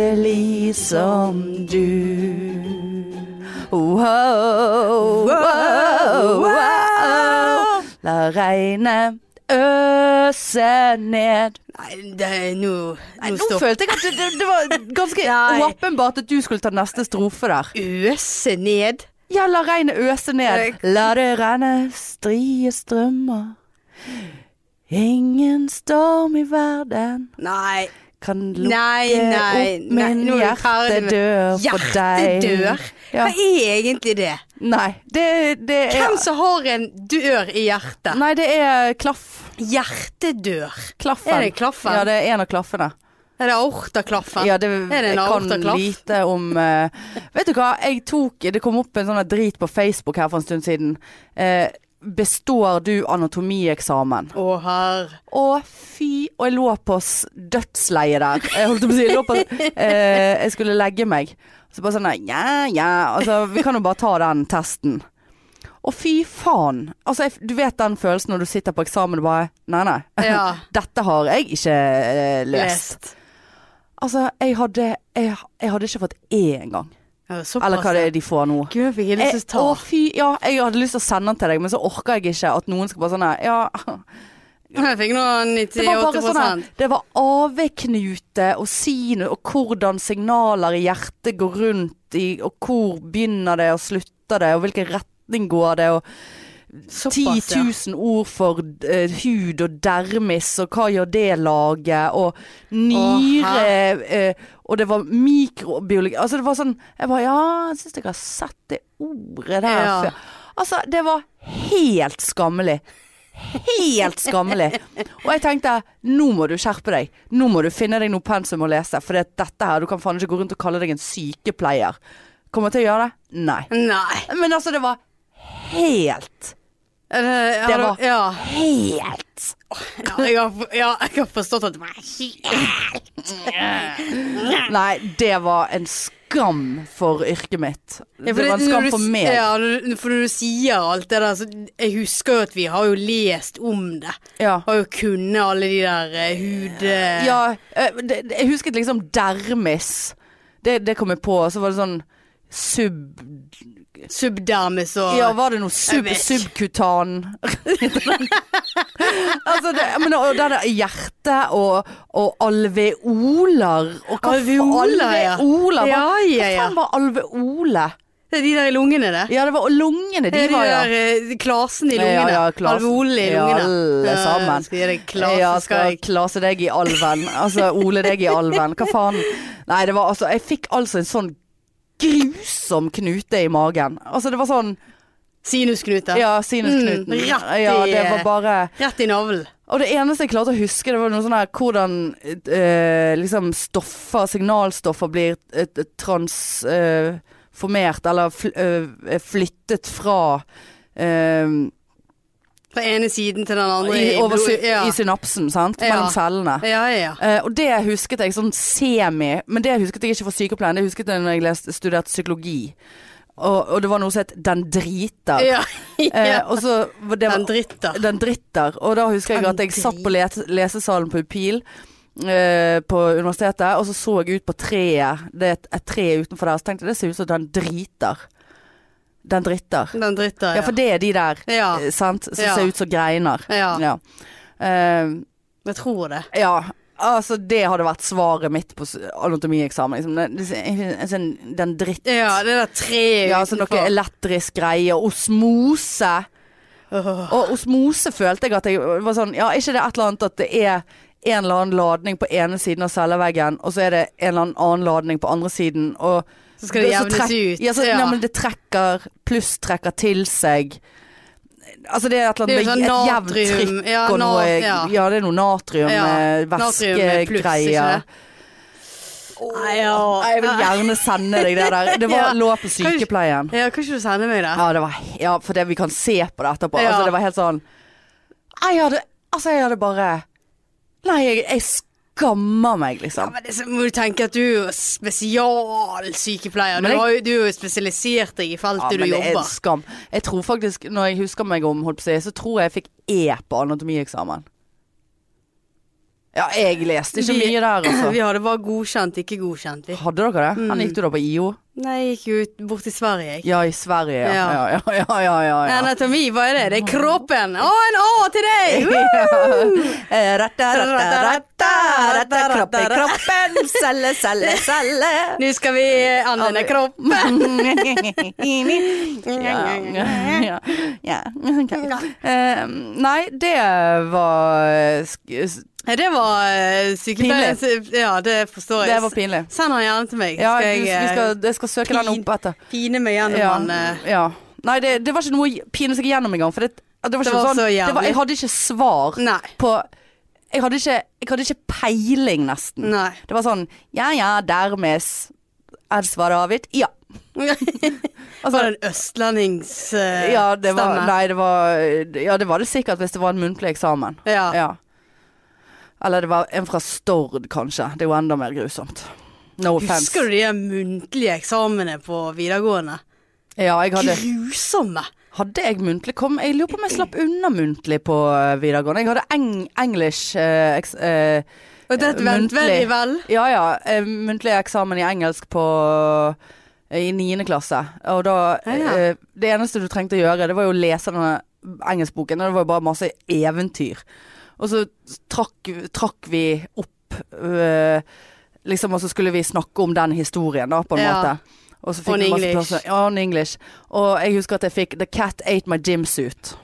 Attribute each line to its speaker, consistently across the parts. Speaker 1: bli som du. Wow, wow, wow. La regnet øse ned.
Speaker 2: Nei, det er nå
Speaker 1: Nei,
Speaker 2: Nå
Speaker 1: nå
Speaker 2: står
Speaker 1: følte jeg at det, det, det var ganske
Speaker 2: Nei.
Speaker 1: åpenbart at du skulle ta neste strofe der.
Speaker 2: øse ned.
Speaker 1: Ja, la regnet øse ned.
Speaker 2: Jeg-
Speaker 1: La det renne strie strømmer. Ingen storm i verden
Speaker 2: Nei.
Speaker 1: kan lukke
Speaker 2: Nei, nei,
Speaker 1: opp
Speaker 2: nei,
Speaker 1: min
Speaker 2: nå er du ferdig med-
Speaker 1: hjertedør for deg.
Speaker 2: Hjertedør?
Speaker 1: Ja.
Speaker 2: Hva er egentlig det?
Speaker 1: Nei, det, det er
Speaker 2: Hvem som har en dør i hjertet?
Speaker 1: Nei, det er klaff.
Speaker 2: Hjertedør.
Speaker 1: Klaffen.
Speaker 2: Er det klaffen?
Speaker 1: Ja, det er en av klaffene.
Speaker 2: Er det aortaklaffen?
Speaker 1: Ja, det,
Speaker 2: Er det
Speaker 1: jeg
Speaker 2: en
Speaker 1: kan
Speaker 2: aortaklaff?
Speaker 1: lite om eh, Vet du hva, jeg tok Det kom opp en sånn drit på Facebook her for en stund siden. Eh, består du anatomieksamen?
Speaker 2: Å, herr.
Speaker 1: Å, fy. Og jeg lå på s- dødsleie der. Jeg holdt på å si, jeg, lå på, eh, jeg skulle legge meg. Så bare sånn der, ja, ja. Altså, vi kan jo bare ta den testen. Å, fy faen. Altså, jeg, du vet den følelsen når du sitter på eksamen og bare Nei, nei.
Speaker 2: Ja.
Speaker 1: Dette har jeg ikke eh, løst.
Speaker 2: Lest.
Speaker 1: Altså, jeg hadde, jeg, jeg hadde ikke fått E engang.
Speaker 2: Ja, såpass.
Speaker 1: Eller hva det er de får nå.
Speaker 2: Gud, jeg fikk helt
Speaker 1: Jeg,
Speaker 2: lyst til
Speaker 1: å
Speaker 2: å
Speaker 1: fy, ja, jeg hadde lyst til å sende den til deg, men så orker jeg ikke at noen skal bare sånn her, Ja,
Speaker 2: ta Jeg fikk nå
Speaker 1: det var
Speaker 2: 98
Speaker 1: bare sånn her, Det var AV-knute og sinus og hvordan signaler i hjertet går rundt i Og hvor begynner det og slutter det, og hvilken retning går det, og 10
Speaker 2: Såpass, ja.
Speaker 1: 000 ord for eh, hud og dermis, og hva gjør det laget, og nyre eh, Og det var mikrobiologi Altså, det var sånn Jeg bare Ja, jeg syns jeg har sett det ordet der
Speaker 2: Ja.
Speaker 1: før. Altså, det var helt skammelig. Helt skammelig. Og jeg tenkte nå må du skjerpe deg. Nå må du finne deg noe pensum å lese. For det, dette her, du kan faen ikke gå rundt og kalle deg en sykepleier. Kommer jeg til å gjøre det? Nei.
Speaker 2: Nei.
Speaker 1: Men altså, det var helt
Speaker 2: Er Det, har
Speaker 1: Det
Speaker 2: du-
Speaker 1: var-
Speaker 2: ja.
Speaker 1: Helt
Speaker 2: Ja, jeg har, ja, jeg har forstått at det var
Speaker 1: Nei, det var en skam for yrket mitt.
Speaker 2: Ja,
Speaker 1: Det var en
Speaker 2: når
Speaker 1: skam
Speaker 2: du-
Speaker 1: for meg.
Speaker 2: Ja, når du- for når du sier alt det der, så jeg husker jo at vi har jo lest om det.
Speaker 1: Ja.
Speaker 2: Har jo kunnet alle de der eh, hud... eh,
Speaker 1: Ja, eh, det, det- jeg husket liksom dermis. Det, det kom jeg på, og så var det sånn sub...
Speaker 2: Subdermis og
Speaker 1: Ja, var det noe sub,
Speaker 2: Jeg vet.
Speaker 1: subkutan? altså, det, men, og det der hjerte og, og alveoler og hva
Speaker 2: Alveoler, ja.
Speaker 1: ja. Alveoler, hva-
Speaker 2: Ja, ja,
Speaker 1: Hva
Speaker 2: ja.
Speaker 1: faen var alveole?
Speaker 2: Det er de der i lungene, det.
Speaker 1: Ja, det var og lungene, de
Speaker 2: det er de
Speaker 1: var ja.
Speaker 2: der eh, klasene i
Speaker 1: Ja,
Speaker 2: lungene.
Speaker 1: ja, klasen.
Speaker 2: Alveolen i
Speaker 1: Ja,
Speaker 2: lungene.
Speaker 1: alle
Speaker 2: Ja,
Speaker 1: sammen.
Speaker 2: Skal gi deg klase,
Speaker 1: ja,
Speaker 2: skal
Speaker 1: skal
Speaker 2: jeg
Speaker 1: klase deg i alven. Altså ole deg i alven. Hva faen? Nei, det var altså Jeg fikk altså en sånn grusom knute i magen. Altså, det var sånn
Speaker 2: Sinusknute.
Speaker 1: Ja, sinusknuten.
Speaker 2: Mm, rett i-
Speaker 1: ja, det var bare
Speaker 2: Rett i navlen.
Speaker 1: Og det eneste jeg klarte å huske, det var noe sånn her hvordan eh, liksom stoffer, signalstoffer blir eh, transformert eller fl eh, flyttet fra eh,
Speaker 2: Fra ene siden til den andre.
Speaker 1: i, over,
Speaker 2: blod-
Speaker 1: sy
Speaker 2: ja.
Speaker 1: i synapsen, sant?
Speaker 2: Ja.
Speaker 1: Mellom cellene.
Speaker 2: ja, ja, ja.
Speaker 1: Eh, og det husket jeg sånn semi, men det husket jeg ikke fra sykepleien. Det husket jeg når jeg leste, studerte psykologi. Og, og det var noe som het 'den driter'.
Speaker 2: ja.
Speaker 1: Eh, og så var det
Speaker 2: Den dritter.
Speaker 1: den dritter. Og da husker jeg
Speaker 2: Den
Speaker 1: at jeg satt på
Speaker 2: drit.
Speaker 1: lese, lesesalen på Upil eh, på universitetet, og så så jeg ut på treet. Det er et, et tre utenfor der, så tenkte jeg det ser ut som den driter. Den dritter.
Speaker 2: Den dritter,
Speaker 1: Ja, for det er de der,
Speaker 2: ja.
Speaker 1: eh, sant, som
Speaker 2: Ja.
Speaker 1: ser ut som greiner.
Speaker 2: Ja.
Speaker 1: Ja. Eh,
Speaker 2: Jeg tror det.
Speaker 1: ja. Altså, det hadde vært svaret mitt på s- anatomieksamen. Liksom. Den, den, den dritt...
Speaker 2: Ja, det der treet
Speaker 1: Ja, altså noe elektrisk greie. Osmose.
Speaker 2: Åh.
Speaker 1: Og osmose følte jeg at jeg var sånn Ja, er ikke det et eller annet at det er en eller annen ladning på ene siden av celleveggen, og så er det en eller annen ladning på andre siden, og
Speaker 2: Så skal det jevnes
Speaker 1: trekk-
Speaker 2: ut.
Speaker 1: Ja, så,
Speaker 2: Ja.
Speaker 1: Nei, men det trekker Pluss trekker til seg. Altså det er et eller
Speaker 2: Det er
Speaker 1: annet
Speaker 2: jo
Speaker 1: med
Speaker 2: sånn
Speaker 1: et jevnt
Speaker 2: natrium,
Speaker 1: trykk
Speaker 2: ja,
Speaker 1: og noe
Speaker 2: na-
Speaker 1: ja.
Speaker 2: ja.
Speaker 1: det er noe natrium,
Speaker 2: Ja,
Speaker 1: eh,
Speaker 2: natrium er pluss, ikke
Speaker 1: væskegreier.
Speaker 2: det? Nei, ja.
Speaker 1: Jeg vil gjerne sende deg det der. Det var,
Speaker 2: Ja.
Speaker 1: lå på
Speaker 2: Kan du ikke-
Speaker 1: sykepleien.
Speaker 2: Ja, kan ikke du sende meg det?
Speaker 1: Ja, det var, ja, for det vi kan se på det etterpå.
Speaker 2: Ja.
Speaker 1: Altså, det var helt sånn Jeg hadde, altså, jeg hadde bare Nei, jeg, jeg skammer meg,
Speaker 2: Ja,
Speaker 1: liksom.
Speaker 2: men det, så må du tenke at du er jo spesialsykepleier.
Speaker 1: Men
Speaker 2: Du,
Speaker 1: jeg-
Speaker 2: har jo- du er jo spesialisert deg i
Speaker 1: Ja, men
Speaker 2: feltet du
Speaker 1: det er en
Speaker 2: jobber.
Speaker 1: skam. Jeg tror faktisk, når jeg husker meg om, holdt på å si, så tror jeg jeg fikk E på anatomieksamen. Ja, jeg leste ikke
Speaker 2: Vi-
Speaker 1: mye der, altså.
Speaker 2: Vi hadde bare godkjent, ikke godkjent. Vi.
Speaker 1: Hadde dere
Speaker 2: Mm.
Speaker 1: det? Han gikk du da på IO?
Speaker 2: Nei, jeg gikk jo ut bort til Sverige, jeg.
Speaker 1: Ja, i Sverige, ja. Ja,
Speaker 2: Ja.
Speaker 1: ja, ja. ja, ja, ja.
Speaker 2: Anatomi, hva er det? Det er kroppen! Å, en Å til deg! Woo!
Speaker 1: Eh, Ratta, ratta, ratta, ratta, kropp i kroppen, celle, celle, celle.
Speaker 2: Nå skal vi anvende kropp.
Speaker 1: ja, ja, ja. ok. Eh, nei, det var sk- s-
Speaker 2: Det var eh, sykepleier... Ja, det forstår jeg.
Speaker 1: Det var pinlig.
Speaker 2: Send han gjerne til meg.
Speaker 1: Ja,
Speaker 2: skal
Speaker 1: du,
Speaker 2: jeg,
Speaker 1: vi
Speaker 2: eh,
Speaker 1: skal, jeg skal søke den
Speaker 2: pin-
Speaker 1: opp etter.
Speaker 2: pine meg gjennom
Speaker 1: Ja,
Speaker 2: han. eh.
Speaker 1: ja. Nei, det, det var ikke noe å pine seg gjennom engang. For det, det var ikke
Speaker 2: Det
Speaker 1: sånn
Speaker 2: var så
Speaker 1: det var,
Speaker 2: jævlig.
Speaker 1: Jeg hadde ikke svar
Speaker 2: Nei.
Speaker 1: på jeg hadde, ikke, jeg hadde ikke peiling, nesten.
Speaker 2: Nei.
Speaker 1: Det var sånn Ja ja, dermed s- er svaret avgitt. Ja.
Speaker 2: var det en eh, østlendingsstemme?
Speaker 1: Altså- Ja det, var, nei, det var, ja, det var det sikkert hvis det var en muntlig eksamen.
Speaker 2: Ja.
Speaker 1: Ja. Eller det var en fra Stord, kanskje. Det er jo enda mer grusomt. No offense.
Speaker 2: Husker du de muntlige eksamene på videregående?
Speaker 1: Ja, jeg hadde
Speaker 2: Grusomme!
Speaker 1: Hadde jeg muntlig? Kom, jeg lurer på om jeg slapp unna muntlig på eh, videregående. Jeg hadde eng English eh, eks, eh,
Speaker 2: Og det vent
Speaker 1: Muntlig.
Speaker 2: veldig vel.
Speaker 1: Ja ja, eh, muntlig eksamen i engelsk på eh, i niende klasse. Og da
Speaker 2: Ja, ja.
Speaker 1: eh, Det eneste du trengte å gjøre, det var jo å lese denne engelskboken, og det var jo bare masse eventyr. Og så trakk, trakk vi opp eh, Liksom, og så skulle vi snakke om den historien, da, på en
Speaker 2: Ja.
Speaker 1: måte. Og så
Speaker 2: On
Speaker 1: fikk vi masse
Speaker 2: English.
Speaker 1: plasser. Ja, on English. Og jeg husker at jeg fikk 'The cat ate my gymsuit'.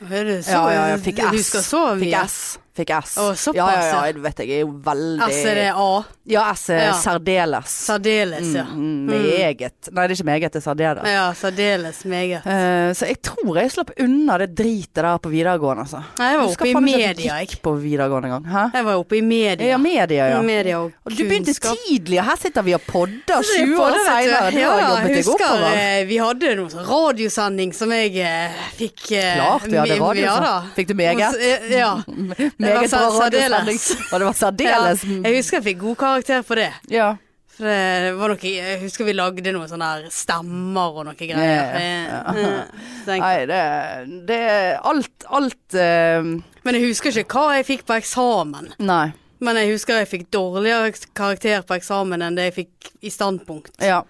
Speaker 2: Hører du så?
Speaker 1: Ja, ja, jeg fikk
Speaker 2: Du
Speaker 1: S.
Speaker 2: husker så
Speaker 1: Fikk
Speaker 2: mye.
Speaker 1: S. Fikk S.
Speaker 2: Å, såpass,
Speaker 1: ja, ja, ja,
Speaker 2: ja.
Speaker 1: jeg vet jeg er jo veldig
Speaker 2: S er det A.
Speaker 1: Ja, S er
Speaker 2: Ja.
Speaker 1: særdeles.
Speaker 2: Særdeles, ja.
Speaker 1: Mm, meget. Nei, det er ikke meget, det er særdeles.
Speaker 2: Ja, særdeles meget.
Speaker 1: Eh, så jeg tror jeg slapp unna det dritet der på videregående, altså.
Speaker 2: Nei, jeg var
Speaker 1: Husker
Speaker 2: oppe i
Speaker 1: faen ikke at
Speaker 2: media,
Speaker 1: jeg.
Speaker 2: jeg.
Speaker 1: Gikk på videregående en gang. Hæ?
Speaker 2: Jeg var oppe i media.
Speaker 1: Ja, media, ja.
Speaker 2: Media og
Speaker 1: Og du begynte
Speaker 2: kunnskap.
Speaker 1: tidlig, og her sitter vi og podder 20
Speaker 2: Ja,
Speaker 1: år
Speaker 2: Altså, det vet du.
Speaker 1: senere. Du
Speaker 2: Ja,
Speaker 1: har
Speaker 2: ja,
Speaker 1: jobbet
Speaker 2: jeg
Speaker 1: deg
Speaker 2: husker
Speaker 1: oppover.
Speaker 2: eh, vi hadde noe sånn radiosending som jeg eh, fikk eh,
Speaker 1: Klart, ja, det var det jo
Speaker 2: ja,
Speaker 1: sånn.
Speaker 2: da.
Speaker 1: Fikk du meget?
Speaker 2: Hos- eh, Ja.
Speaker 1: Meget bra
Speaker 2: var sær-
Speaker 1: radiosending.
Speaker 2: særdeles.
Speaker 1: Og det var særdeles
Speaker 2: ja. Jeg husker jeg fikk god karakter på det.
Speaker 1: Ja.
Speaker 2: For det var noe, jeg husker vi lagde noen sånne her stemmer og noe greier.
Speaker 1: Ja, ja.
Speaker 2: Eh, eh, så tenkte-
Speaker 1: Nei, det, det Alt, alt eh,
Speaker 2: Men jeg husker ikke hva jeg fikk på eksamen.
Speaker 1: Nei.
Speaker 2: Men jeg husker jeg fikk dårligere karakter på eksamen enn det jeg fikk i standpunkt.
Speaker 1: Ja.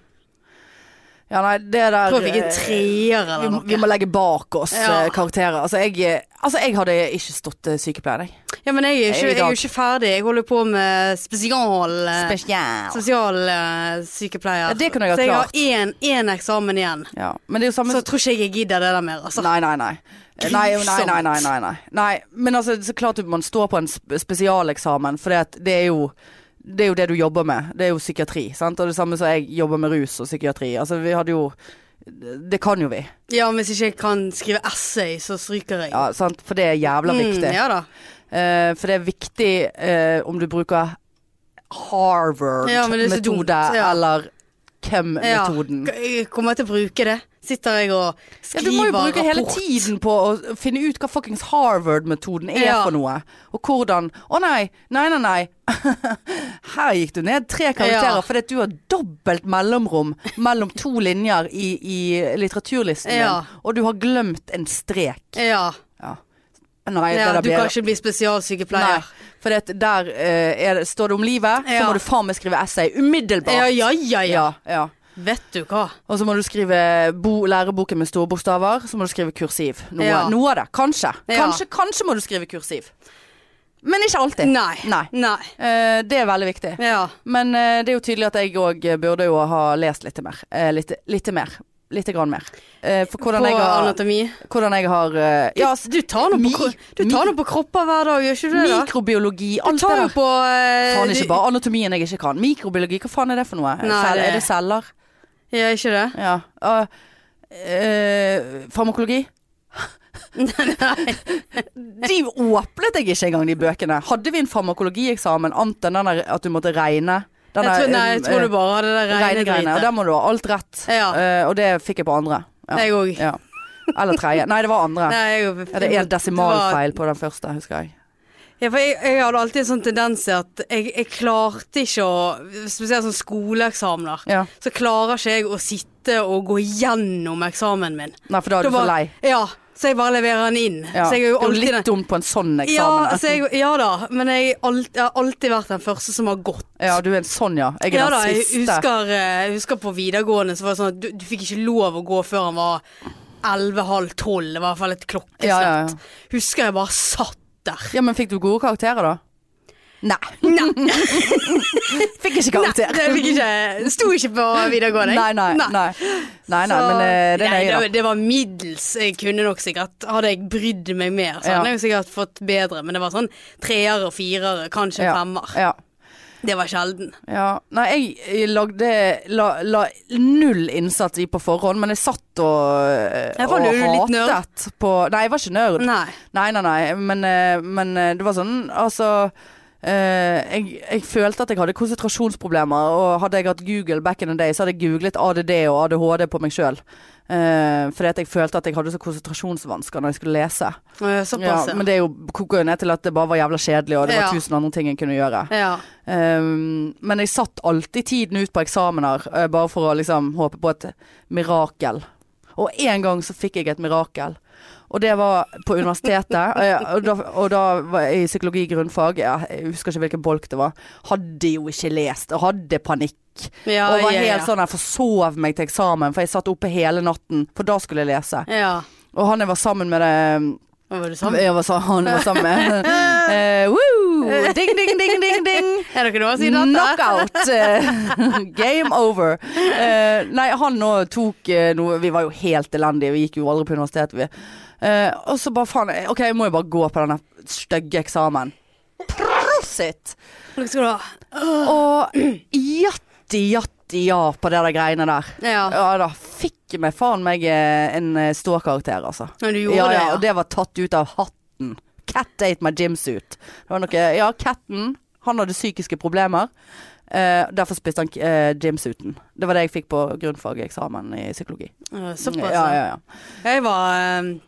Speaker 1: Ja, nei, det der
Speaker 2: Jeg tror jeg fikk en
Speaker 1: eh,
Speaker 2: treer
Speaker 1: vi,
Speaker 2: eller
Speaker 1: må- vi
Speaker 2: noe.
Speaker 1: må legge bak oss
Speaker 2: Ja.
Speaker 1: eh, karakterer. Altså jeg, eh, altså, jeg hadde ikke stått eh, sykepleier, jeg.
Speaker 2: Ja, men jeg er, ikke,
Speaker 1: I dag-
Speaker 2: jeg er jo ikke ferdig. Jeg holder på med spesial... eh,
Speaker 1: Spesial.
Speaker 2: Sosialsykepleier.
Speaker 1: Ja, det kunne jeg ha
Speaker 2: eh, så
Speaker 1: klart.
Speaker 2: jeg har én- én eksamen igjen.
Speaker 1: Ja. Men det er jo samme
Speaker 2: Så jeg tror ikke jeg gidder det der mer, altså.
Speaker 1: Nei, nei, nei. Eh, Nei, jo, nei, nei, nei, nei, nei. nei. Men altså, så klart at man står på en sp- spesialeksamen, for det, at det er jo det er jo det du jobber med. Det er jo psykiatri. Sant? Og det samme som jeg jobber med rus og psykiatri. Altså, vi hadde jo Det kan jo vi.
Speaker 2: Ja, Hvis ikke jeg kan skrive essay, så stryker jeg.
Speaker 1: Ja, sant? For det er jævla viktig.
Speaker 2: Mm, ja da.
Speaker 1: Eh, for det er viktig eh, om du bruker
Speaker 2: Ja, men det er så
Speaker 1: Harvard-metode
Speaker 2: dumt, ja.
Speaker 1: eller
Speaker 2: Ja.
Speaker 1: Chem-metoden.
Speaker 2: K- Jeg kommer til å bruke det. Sitter jeg og
Speaker 1: Ja,
Speaker 2: skriver
Speaker 1: du må jo bruke hele
Speaker 2: rapport.
Speaker 1: tiden på å finne ut hva fuckings Harvard-metoden er
Speaker 2: Ja.
Speaker 1: for noe. Og hvordan Å nei, nei, nei, nei. Her gikk du ned tre karakterer
Speaker 2: Ja.
Speaker 1: fordi at du har dobbelt mellomrom mellom to linjer i, i litteraturlisten
Speaker 2: Ja.
Speaker 1: din, og du har glemt en strek.
Speaker 2: Ja.
Speaker 1: Ja. Nei, det
Speaker 2: ja
Speaker 1: der
Speaker 2: du
Speaker 1: ble
Speaker 2: kan
Speaker 1: det.
Speaker 2: ikke bli
Speaker 1: Nei,
Speaker 2: spesialsykepleier.
Speaker 1: for det, at der eh, er, det- står det om livet, så
Speaker 2: Ja.
Speaker 1: må du faen meg skrive essay umiddelbart.
Speaker 2: Ja, ja, ja, ja.
Speaker 1: Ja, ja.
Speaker 2: Vet du hva.
Speaker 1: Og så må du skrive bo, læreboken med store bokstaver, så må du skrive kursiv. Noe,
Speaker 2: Ja.
Speaker 1: noe av det. Kanskje.
Speaker 2: Ja.
Speaker 1: kanskje. Kanskje må du skrive kursiv. Men ikke alltid.
Speaker 2: Nei.
Speaker 1: Nei. Eh, det er veldig viktig.
Speaker 2: Ja.
Speaker 1: Men eh, det er jo tydelig at jeg òg burde jo ha lest litt mer. Eh, litt, litt mer. Lite grann mer. Eh, for
Speaker 2: På
Speaker 1: hvordan jeg har,
Speaker 2: anatomi.
Speaker 1: hvordan jeg har eh, Ja,
Speaker 2: Du, du tar noe
Speaker 1: mi-
Speaker 2: på, kro- du tar noe på kropper hver dag, gjør ikke du det? da?
Speaker 1: mikrobiologi,
Speaker 2: Du
Speaker 1: alt det
Speaker 2: tar jo
Speaker 1: der.
Speaker 2: på eh,
Speaker 1: Faen,
Speaker 2: du-
Speaker 1: ikke bare anatomien jeg ikke kan. Mikrobiologi, hva faen er det for noe?
Speaker 2: Nei,
Speaker 1: Cell,
Speaker 2: det-
Speaker 1: er det celler?
Speaker 2: Ja, ikke det?
Speaker 1: Ja. Uh, eh, farmakologi? de åpnet jeg ikke engang, de bøkene. Hadde vi en farmakologieksamen annet enn den der at du måtte regne? Den
Speaker 2: jeg tror,
Speaker 1: der,
Speaker 2: nei, jeg tror
Speaker 1: eh,
Speaker 2: du bare hadde det der
Speaker 1: regnegreiene. Og
Speaker 2: regnedritet.
Speaker 1: der må du ha alt rett.
Speaker 2: Ja.
Speaker 1: Eh, og det fikk jeg på andre. Ja.
Speaker 2: Jeg òg.
Speaker 1: ja. Eller tredje. Nei, det var andre.
Speaker 2: Nei, jeg-
Speaker 1: Ja, det er en desimalfeil på den første, husker jeg.
Speaker 2: Ja, for jeg, jeg hadde alltid en sånn tendens til at jeg, jeg klarte ikke å Spesielt sånn skoleeksamener.
Speaker 1: Ja.
Speaker 2: Så klarer ikke jeg å sitte og gå gjennom eksamen min.
Speaker 1: Nei, for da er du
Speaker 2: Da
Speaker 1: så
Speaker 2: bare-
Speaker 1: lei.
Speaker 2: Ja. Så jeg bare leverer den inn.
Speaker 1: Ja.
Speaker 2: Så jeg er jo
Speaker 1: det er jo
Speaker 2: alltid
Speaker 1: litt
Speaker 2: den
Speaker 1: dumt på en sånn eksamen.
Speaker 2: ja, så jeg, ja da, men jeg, er alt, jeg har alltid vært den første som har gått.
Speaker 1: Ja, du er en sånn, ja. Jeg er
Speaker 2: Ja da,
Speaker 1: den
Speaker 2: jeg
Speaker 1: siste.
Speaker 2: husker, eh, jeg husker på videregående så var det sånn at du, du fikk ikke lov å gå før han var 11.30-12. Det var i hvert fall et klokkeslett.
Speaker 1: Ja, ja, ja.
Speaker 2: Husker jeg bare satt der.
Speaker 1: Ja, men fikk du gode karakterer, da? Nei.
Speaker 2: Nei,
Speaker 1: Fikk ikke karakter.
Speaker 2: det fikk ikke, det sto ikke på videregående.
Speaker 1: Nei, nei, nei. nei, nei,
Speaker 2: Så-
Speaker 1: men eh, det er
Speaker 2: Nei,
Speaker 1: nøye, da.
Speaker 2: det, det var middels. Jeg kunne nok sikkert Hadde jeg brydd meg mer, så
Speaker 1: Ja.
Speaker 2: hadde jeg jo sikkert fått bedre. Men det var sånn treer og firere, kanskje
Speaker 1: Ja.
Speaker 2: femmer.
Speaker 1: Ja.
Speaker 2: Det var sjelden.
Speaker 1: ja. Nei, jeg, jeg lagde la, la null innsats i på forhånd, men jeg satt og, eh,
Speaker 2: Ja, var
Speaker 1: og
Speaker 2: du litt nerd?
Speaker 1: hatet på Nei, jeg var ikke nerd.
Speaker 2: Nei.
Speaker 1: Nei, nei, nei, men, eh, men eh, det var sånn, altså eh, jeg, jeg følte at jeg hadde konsentrasjonsproblemer, og hadde jeg hatt Google back in the day, så hadde jeg googlet ADD og ADHD på meg sjøl. fordi at jeg følte at jeg hadde så konsentrasjonsvansker når jeg skulle lese.
Speaker 2: Øh,
Speaker 1: Ja,
Speaker 2: Såpass, ja.
Speaker 1: men det er jo koker jo ned til at det bare var jævla kjedelig, og det var
Speaker 2: Ja.
Speaker 1: tusen andre ting jeg kunne gjøre.
Speaker 2: ja.
Speaker 1: Ehm, men jeg satt alltid tiden ut på eksamener, eh, bare for å liksom håpe på et mirakel. Og en gang så fikk jeg et mirakel. Og det var på universitetet. eh, og, da, og da var jeg i psykologi grunnfag, ja, jeg husker ikke hvilken bolk det var. Hadde jo ikke lest, og hadde panikk.
Speaker 2: Ja,
Speaker 1: og var
Speaker 2: ja,
Speaker 1: helt
Speaker 2: ja.
Speaker 1: sånn jeg forsov meg til eksamen, for jeg satt oppe hele natten, for da skulle jeg lese.
Speaker 2: ja.
Speaker 1: Og han jeg var sammen med det
Speaker 2: Hva Var det sånn?
Speaker 1: jeg var sa- han var sammen med. Eh, woo! Ding, ding, ding, ding, ding.
Speaker 2: Er dere noe å si da?
Speaker 1: Knockout! Eh, Game over. Eh, nei, han nå tok eh, noe Vi var jo helt elendige, vi gikk jo aldri på universitetet, vi. Eh, og så bare faen eh, OK, jeg må jo bare gå på denne stygge eksamen. Prosit!
Speaker 2: Dere skal du ha.
Speaker 1: Og jatti, jatti ja på det der greiene der.
Speaker 2: Ja.
Speaker 1: Ja da, fikk meg faen meg eh, en eh, ståkarakter, altså.
Speaker 2: Men du gjorde
Speaker 1: Ja, ja, og
Speaker 2: det,
Speaker 1: det var tatt ut av hatten. Cat ate my gymsuit. Det var noe Ja, katten, han hadde psykiske problemer. Eh, derfor spiste han uh, gymsuiten. Det var det jeg fikk på grunnfageksamen i psykologi.
Speaker 2: ja. Øh,
Speaker 1: ja,
Speaker 2: Såpass, ja.
Speaker 1: ja, ja.
Speaker 2: Jeg var, øh,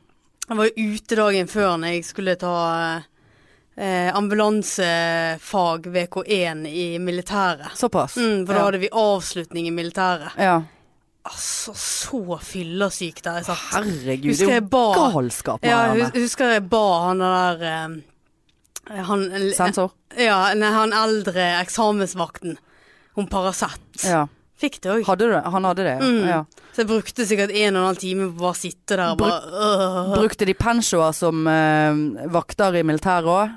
Speaker 2: jeg var ute dagen før når jeg skulle ta øh, ambulansefag VK1 i militæret.
Speaker 1: Såpass.
Speaker 2: Mm, for da
Speaker 1: ja.
Speaker 2: hadde vi avslutning i militæret.
Speaker 1: ja.
Speaker 2: Altså, så fyllesyk der jeg
Speaker 1: Ah,
Speaker 2: satt.
Speaker 1: Herregud, det
Speaker 2: Husker
Speaker 1: er
Speaker 2: jeg
Speaker 1: jo
Speaker 2: ba
Speaker 1: galskap.
Speaker 2: Ja,
Speaker 1: Marianne.
Speaker 2: jeg hus- husker jeg ba han der eh, han,
Speaker 1: Sensor.
Speaker 2: ja, nei, han eldre eksamensvakten om Paracet.
Speaker 1: Ja.
Speaker 2: Fikk det òg.
Speaker 1: Hadde du det? Han hadde det, ja.
Speaker 2: Mm.
Speaker 1: ja.
Speaker 2: Så jeg brukte sikkert en og en halv time på å bare sitte der og bare øh.
Speaker 1: Brukte de pensjoer som eh, vakter i militæret òg?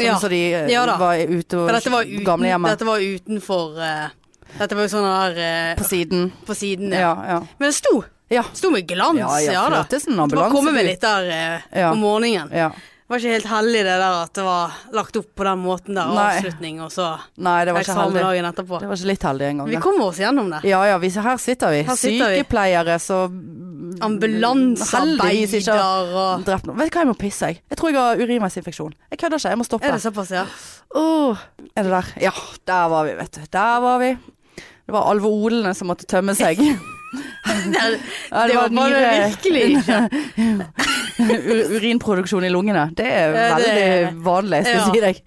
Speaker 1: Sånn
Speaker 2: Ja.
Speaker 1: som de eh,
Speaker 2: Ja da.
Speaker 1: var ute
Speaker 2: For dette var,
Speaker 1: og
Speaker 2: uten,
Speaker 1: gamlehjemmet
Speaker 2: dette var utenfor eh, Dette var jo sånn der eh,
Speaker 1: på siden.
Speaker 2: på siden. Ja.
Speaker 1: Ja, ja.
Speaker 2: Men det sto.
Speaker 1: ja.
Speaker 2: Sto med glans, ja, da.
Speaker 1: flørtes en
Speaker 2: Det bare
Speaker 1: ambulanse.
Speaker 2: komme meg litt der eh,
Speaker 1: Ja.
Speaker 2: om morgenen.
Speaker 1: Ja.
Speaker 2: Det var ikke helt heldig det der at det var lagt opp på den måten der.
Speaker 1: Nei.
Speaker 2: Avslutning og så
Speaker 1: Nei, det var ikke
Speaker 2: eksamen
Speaker 1: heldig.
Speaker 2: dagen etterpå.
Speaker 1: Det var ikke litt heldig engang.
Speaker 2: Vi
Speaker 1: det.
Speaker 2: kommer oss gjennom det.
Speaker 1: Ja ja, vi, her sitter vi.
Speaker 2: Her sitter vi.
Speaker 1: Sykepleiere så Mm. Heldigvis ikke har
Speaker 2: Ambulansearbeider og
Speaker 1: drept noen. Vet du hva, jeg må pisse, jeg. Jeg tror jeg har urinveisinfeksjon. Jeg kødder ikke, jeg må stoppe.
Speaker 2: Er det såpass, ja?
Speaker 1: Åh, er det der? Ja, der var vi, vet du. Der var vi. Det var alveolene som måtte tømme seg.
Speaker 2: Det,
Speaker 1: Ja,
Speaker 2: det var bare
Speaker 1: nyre-
Speaker 2: virkelig ikke.
Speaker 1: U- urinproduksjon i lungene. Det er
Speaker 2: Ja,
Speaker 1: veldig
Speaker 2: det er-
Speaker 1: vanlig, skal jeg
Speaker 2: Ja.
Speaker 1: si deg.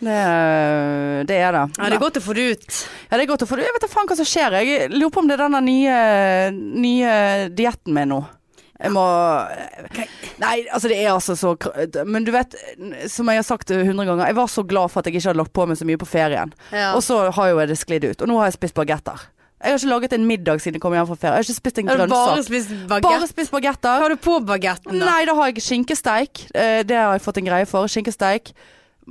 Speaker 1: Det, er- det er det.
Speaker 2: Ja, det er godt å få det ut.
Speaker 1: Ja, det er godt å få det. Jeg vet da faen hva som skjer. Jeg lurer på om det er denne nye, nye dietten min nå. Jeg må Nei, altså det er altså så kr- Men du vet, som jeg har sagt hundre ganger, jeg var så glad for at jeg ikke hadde lagt på meg så mye på ferien.
Speaker 2: Ja.
Speaker 1: Og så har jo det sklidd ut. Og nå har jeg spist bagetter. Jeg har ikke laget en middag siden jeg kom hjem fra ferie. Jeg har ikke spist en
Speaker 2: Har du bare
Speaker 1: grønnsak.
Speaker 2: spist
Speaker 1: Bare
Speaker 2: bagett?
Speaker 1: spist bagetter.
Speaker 2: Hva har du på bagetten, da?
Speaker 1: Nei, da har jeg skinkesteik. Eh, Det har jeg fått en greie for. Skinkesteik.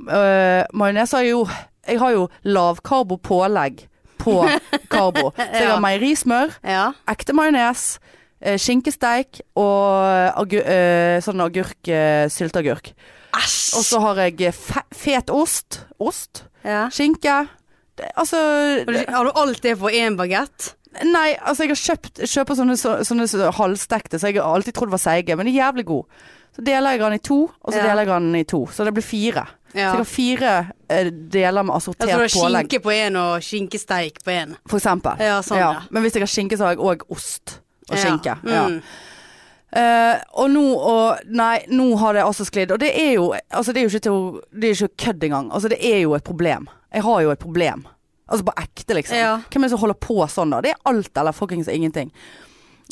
Speaker 1: Uh, Majones har jeg jo Jeg har jo lavkarbopålegg på karbo. Så jeg
Speaker 2: Ja.
Speaker 1: har meierismør,
Speaker 2: Ja.
Speaker 1: ekte majones, eh, skinkesteik og agu eh, sånn agurk, eh, sylteagurk. Og
Speaker 2: Æsj!
Speaker 1: så har jeg fe fet ost. Ost.
Speaker 2: Ja.
Speaker 1: Skinke. Det, altså
Speaker 2: Har du- Har du alt det på én bagett?
Speaker 1: Nei, altså jeg har kjøpt kjøper sånne, så, sånne så- halvstekte, så jeg har alltid trodd var seige, men de er jævlig gode. Så deler jeg den i to, og så
Speaker 2: Ja.
Speaker 1: deler jeg den i to. Så det blir fire. Så
Speaker 2: Ja.
Speaker 1: jeg har fire eh, deler med
Speaker 2: Jeg tror det er
Speaker 1: assortert pålegg,
Speaker 2: skinke på én og skinkesteik på én.
Speaker 1: for eksempel.
Speaker 2: Ja, sånn, ja.
Speaker 1: Men hvis jeg har skinke, så har jeg òg ost og skinke. Ja.
Speaker 2: Mm.
Speaker 1: Eh, og nå og Nei, nå har det altså sklidd. Og det er jo Altså, det er jo ikke til å Det er jo ikke kødd engang. Altså, det er jo et problem. Jeg har jo et problem. Altså på ekte, liksom.
Speaker 2: Ja.
Speaker 1: Hvem er det som holder på sånn, da? Det er alt eller fuckings ingenting.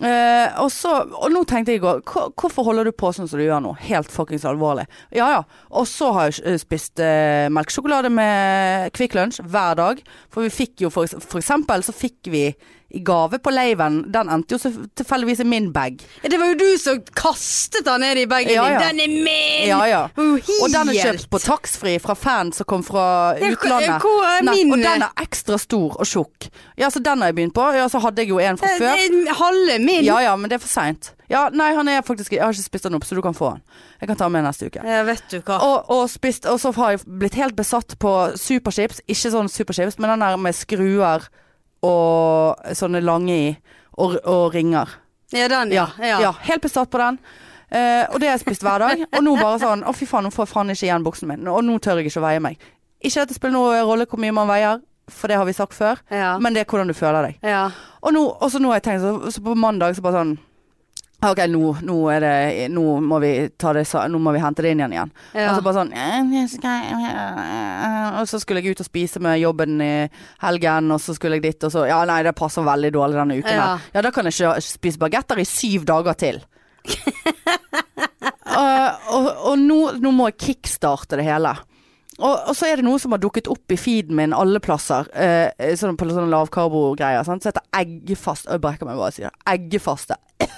Speaker 1: Eh, og, så, og nå tenkte jeg i går, hva- hvorfor holder du på sånn som du gjør nå? Helt fuckings alvorlig. Ja ja. Og så har jeg eh, spist eh, melkesjokolade med Kvikk Lunsj hver dag. For vi fikk jo for, for eksempel så fikk vi i gave på leiven, den endte jo så- tilfeldigvis i min bag.
Speaker 2: Ja, Det var jo du som kastet den ned i bagen
Speaker 1: Ja,
Speaker 2: din.
Speaker 1: ja.
Speaker 2: Den er min!
Speaker 1: Ja ja.
Speaker 2: Oh,
Speaker 1: Og den er
Speaker 2: helt.
Speaker 1: kjøpt på taxfree fra fans som kom fra
Speaker 2: Ja, hvor-
Speaker 1: utlandet.
Speaker 2: Hvor er
Speaker 1: Nei,
Speaker 2: min?
Speaker 1: og den er ekstra stor og tjukk. Ja, så den har jeg begynt på. Ja, så hadde jeg jo en fra
Speaker 2: Den
Speaker 1: før.
Speaker 2: Eh, er Halve min.
Speaker 1: Ja ja, men det er for seint. Ja, nei, han er faktisk Jeg har ikke spist den opp, så du kan få den. Jeg kan ta den med neste uke.
Speaker 2: Ja, vet du hva.
Speaker 1: Og, og, spist, og så har jeg blitt helt besatt på superchips. Ikke sånn superchips, men den der med skruer og sånne lange i. Og, og ringer.
Speaker 2: Ja, den, ja. ja.
Speaker 1: Ja, helt besatt på den. Eh, og det har jeg spist hver dag. Og nå bare sånn Å, fy faen, nå får jeg faen ikke igjen buksen min. Og nå tør jeg ikke å veie meg. Ikke at det spiller noen rolle hvor mye man veier, for det har vi sagt før.
Speaker 2: Ja.
Speaker 1: Men det er hvordan du føler deg.
Speaker 2: ja.
Speaker 1: Og nå, og så nå har jeg tenkt, så, så på mandag så bare sånn «Ah, Ok, nå, nå er det Nå må vi, ta det, sa- nå må vi hente det inn igjen igjen.
Speaker 2: Ja.
Speaker 1: Og så bare sånn «Eh, jeg skal- Og så skulle jeg ut og spise med jobben i helgen, og så skulle jeg dit, og så Ja, nei, det passer veldig dårlig denne uken
Speaker 2: Ja.
Speaker 1: her. Ja, da kan jeg ikke spise bagetter i syv dager til. Eh, og og nå, nå må jeg kickstarte det hele. Og, og så er det noe som har dukket opp i feeden min alle plasser. Eh, sånn på sånne lavkarbo-greier. sant? Så heter eggefast. Og jeg brekker meg bare og sier det. eggefaste. Og jeg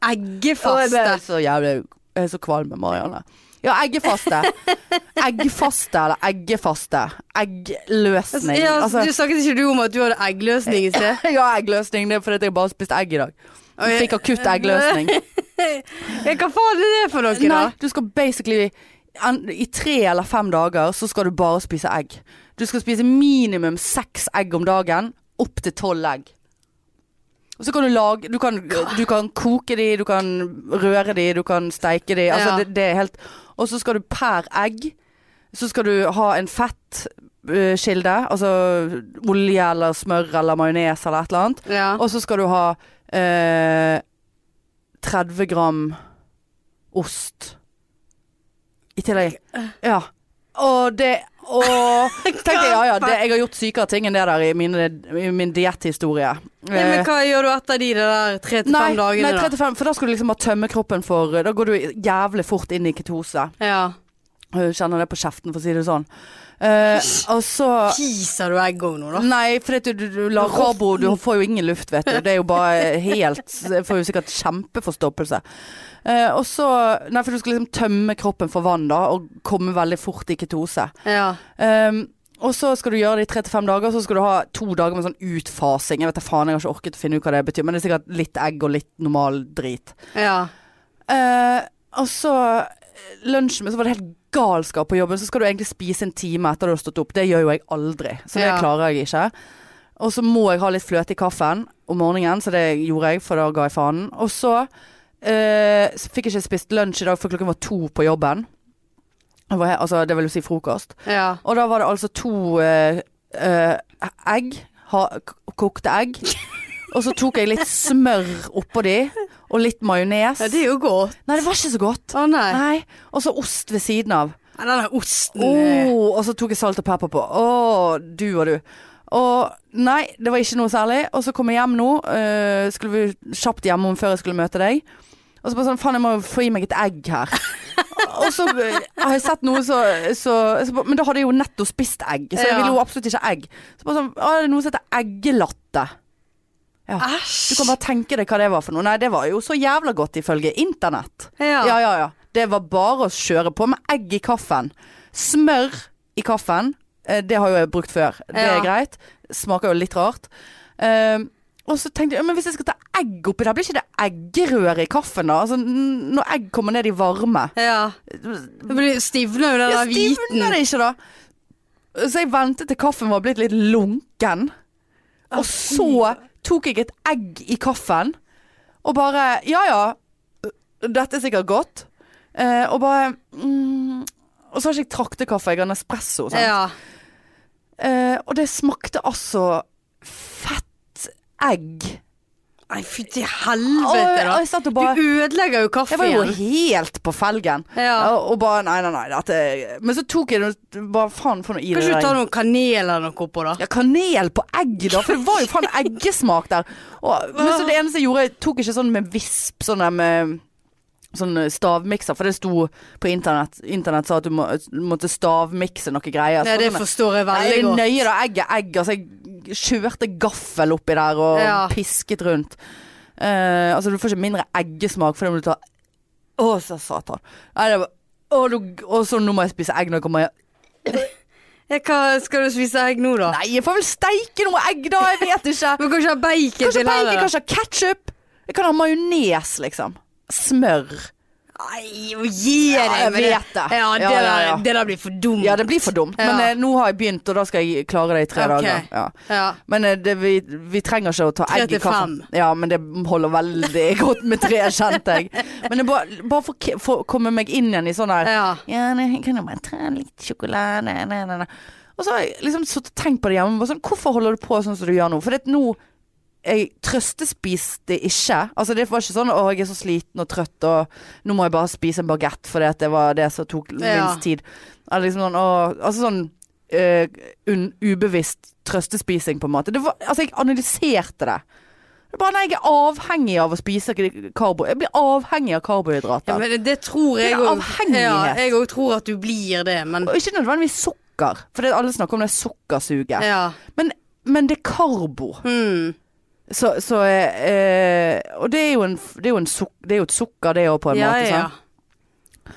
Speaker 1: ble
Speaker 2: Eggefaste.
Speaker 1: så jævlig Jeg er så kvalm med Marianne. Ja, eggefaste. Eggfaste eller eggefaste. Eggløsning.
Speaker 2: Ja,
Speaker 1: Altså,
Speaker 2: du snakket ikke du om at du hadde eggløsning i sted?
Speaker 1: ja, eggløsning. Det er fordi at jeg bare har spist egg i dag.
Speaker 2: jeg-
Speaker 1: Fikk akutt eggløsning.
Speaker 2: Ja, hva faen er det for noe, da?
Speaker 1: Nei, du skal basically an- i tre eller fem dager så skal du bare spise egg. Du skal spise minimum seks egg om dagen, opp til tolv egg. Og så kan du lage Du kan, du kan koke de, du kan røre de, du kan steike de. Altså
Speaker 2: Ja.
Speaker 1: det, det er helt Og så skal du per egg Så skal du ha en fettkilde, altså olje eller smør eller majones eller et eller annet.
Speaker 2: Ja.
Speaker 1: Og så skal du ha eh, 30 gram ost i tillegg.
Speaker 2: Eh.
Speaker 1: Ja. Og det Og tenkte jeg, ja ja, det, jeg har gjort sykere ting enn det der i, mine, i min dietthistorie.
Speaker 2: Ja,
Speaker 1: Eh,
Speaker 2: men hva gjør du etter de der tre til
Speaker 1: Nei,
Speaker 2: fem dagene,
Speaker 1: nei 35, for da skal du liksom bare tømme kroppen for Da går du jævlig fort inn i ketose.
Speaker 2: da? Ja.
Speaker 1: Jeg Kjenner det på kjeften, for å si det sånn. Eh, og så
Speaker 2: Spiser du egg òg nå, da?
Speaker 1: Nei, for det, du, du, du lar karbo Du får jo ingen luft, vet du. Det er jo bare helt Jeg får jo sikkert kjempeforstoppelse. Eh, og så Nei, for du skal liksom tømme kroppen for vann, da, og komme veldig fort i ketose.
Speaker 2: Ja.
Speaker 1: Ehm, og så skal du gjøre det i tre til fem dager, og så skal du ha to dager med sånn utfasing. Jeg vet da faen, jeg har ikke orket å finne ut hva det betyr, men det er sikkert litt egg og litt normal drit.
Speaker 2: ja.
Speaker 1: Eh, og så eh, lunsjen min, så var det helt galskap på jobben. Så skal du egentlig spise en time etter du har stått opp. Det gjør jo jeg aldri, så det
Speaker 2: Ja.
Speaker 1: klarer jeg ikke. Og så må jeg ha litt fløte i kaffen om morgenen, så det gjorde jeg, for da ga jeg faen. Og så eh, så fikk jeg ikke spist lunsj i dag, for klokken var to på jobben. Det var he- Altså, det vil jo si frokost.
Speaker 2: ja.
Speaker 1: Og da var det altså to eh, eh, egg, ha, k- kokte egg. Og så tok jeg litt smør oppå de, og litt majones.
Speaker 2: Ja, det er jo godt.
Speaker 1: Nei, det var ikke så godt.
Speaker 2: Å nei.
Speaker 1: Nei. Og så ost ved siden av.
Speaker 2: Ja, den der osten eh,
Speaker 1: Oh, og så tok jeg salt og pepper på. Å, du og du. Og nei, det var ikke noe særlig. Og så kom jeg hjem nå. eh, skulle vi kjapt hjemom før jeg skulle møte deg. Og så bare sånn, faen jeg må få i meg et egg her. og så eh, har jeg sett noe så, så, så bare- Men da hadde jeg jo nettopp spist egg, så jeg
Speaker 2: Ja.
Speaker 1: ville jo absolutt ikke egg. Så bare sånn, å, det er noe som heter eggelatte. Du
Speaker 2: Æsj.
Speaker 1: kan bare tenke deg hva det var for noe. Nei, det var jo så jævla godt ifølge internett.
Speaker 2: Ja.
Speaker 1: Ja, ja, ja. Det var bare å kjøre på med egg i kaffen. Smør i kaffen. Eh, Det har jo jeg brukt før. Det er
Speaker 2: Ja.
Speaker 1: greit. Smaker jo litt rart. Eh, og så tenkte jeg, ja, men hvis jeg skal ta egg oppi der, blir ikke det eggerøre i kaffen da? Altså, n- når egg kommer ned i varme.
Speaker 2: ja. Det blir- Stivner jo den
Speaker 1: Ja,
Speaker 2: der hviten.
Speaker 1: stivner det ikke da? Så jeg ventet til kaffen var blitt litt lunken. Og så tok jeg et egg i kaffen. Og bare Ja ja, dette er sikkert godt. Eh, og bare mm, Og så har ikke jeg traktekaffe, jeg har Nespresso. Sant?
Speaker 2: Ja.
Speaker 1: Eh, og det smakte altså fett egg.
Speaker 2: Nei, fy til
Speaker 1: Og,
Speaker 2: helvete,
Speaker 1: og jeg
Speaker 2: da.
Speaker 1: satt og bare
Speaker 2: Du ødelegger jo
Speaker 1: Jeg var jo
Speaker 2: kaffen.
Speaker 1: helt på felgen.
Speaker 2: Ja.
Speaker 1: Og, og bare Nei, nei, nei. Dette Men så tok jeg det bare Faen, for noe i det
Speaker 2: Kan ikke du
Speaker 1: der.
Speaker 2: ta noe kanel eller noe oppå, da?
Speaker 1: Ja, kanel på egg, da. For det var jo faen eggesmak der. Og, men så det eneste jeg gjorde, jeg tok ikke sånn med visp, sånn der med Sånn stavmikser, for det sto på internett. Internett sa at du må, måtte stavmikse noe greier.
Speaker 2: Nei,
Speaker 1: Så
Speaker 2: det
Speaker 1: sånn-
Speaker 2: forstår jeg
Speaker 1: Nei,
Speaker 2: veldig
Speaker 1: det er
Speaker 2: godt.
Speaker 1: nøye da, egg er egg. Altså, jeg kjørte gaffel oppi der og
Speaker 2: Ja.
Speaker 1: pisket rundt. Eh, altså, du får ikke mindre eggesmak fordi om du tar Å, sa satan. Nei, det var Å, nå- å, så nå må jeg spise egg når jeg kommer hjem.
Speaker 2: Ja, Hva skal du spise egg nå, da?
Speaker 1: Nei, jeg får vel steike noe egg, da! Jeg vet ikke.
Speaker 2: Men kan ikke ha bacon
Speaker 1: Kanskje
Speaker 2: til
Speaker 1: bacon,
Speaker 2: heller? da?
Speaker 1: kanskje ketsjup. Jeg kan ha majones, liksom. Smør.
Speaker 2: Nei, jo, gi
Speaker 1: Ja,
Speaker 2: deg
Speaker 1: jeg
Speaker 2: med det.
Speaker 1: vet det.
Speaker 2: Ja, det,
Speaker 1: Ja, ja, ja.
Speaker 2: Der, det der blir for dumt.
Speaker 1: Ja, det blir for dumt, men
Speaker 2: Ja.
Speaker 1: eh, nå har jeg begynt, og da skal jeg klare det i tre
Speaker 2: Ok.
Speaker 1: dager. Ja.
Speaker 2: Ja.
Speaker 1: Men eh, det, vi, vi trenger ikke å ta
Speaker 2: Tre
Speaker 1: egg i
Speaker 2: til
Speaker 1: kaffen. Ja, men det holder veldig godt med tre, kjente jeg. Men det er bare, bare for, ke- for å komme meg inn igjen i sånn her
Speaker 2: ja.
Speaker 1: Ja, nei, kan jeg bare ta litt sjokolade nei, nei, nei. Og så har jeg liksom sittet og tenkt på det hjemme. Bare sånn, hvorfor holder du på sånn som du gjør nå? For det at nå jeg trøstespiste ikke. Altså Det var ikke sånn 'Å, jeg er så sliten og trøtt, og nå må jeg bare spise en bagett fordi at det var det som tok
Speaker 2: Ja.
Speaker 1: minst tid'. Eller liksom sånn, å, altså sånn eh, un, ubevisst trøstespising, på en måte. Det var, altså, jeg analyserte det. Det er bare, nei, jeg er avhengig av å spise karbo... Jeg blir avhengig av karbohydrater.
Speaker 2: Ja, men det- det tror
Speaker 1: Det er
Speaker 2: jeg òg.
Speaker 1: avhengighet.
Speaker 2: Ja, jeg òg tror at du blir det, men
Speaker 1: Og ikke nødvendigvis sukker, for det alle snakker om det sukkersuget.
Speaker 2: ja.
Speaker 1: Men, men det er karbo.
Speaker 2: Mm.
Speaker 1: Så, så eh, Og det er jo, en, det, er jo en suk, det er jo et sukker, det òg, på en
Speaker 2: ja,
Speaker 1: måte.
Speaker 2: ja.
Speaker 1: Sant?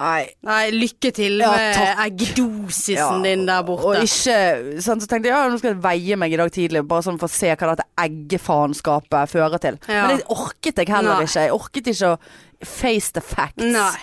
Speaker 1: Nei.
Speaker 2: Nei, lykke til
Speaker 1: Ja,
Speaker 2: med
Speaker 1: takk.
Speaker 2: eggdosisen
Speaker 1: Ja,
Speaker 2: din der
Speaker 1: Og
Speaker 2: borte.
Speaker 1: ikke sant, Så tenkte jeg ja, nå skal jeg veie meg i dag tidlig, bare sånn for å se hva dette eggefaenskapet fører til.
Speaker 2: Ja.
Speaker 1: Men det orket jeg heller
Speaker 2: Nei.
Speaker 1: ikke. Jeg orket ikke å face the facts.
Speaker 2: Nei,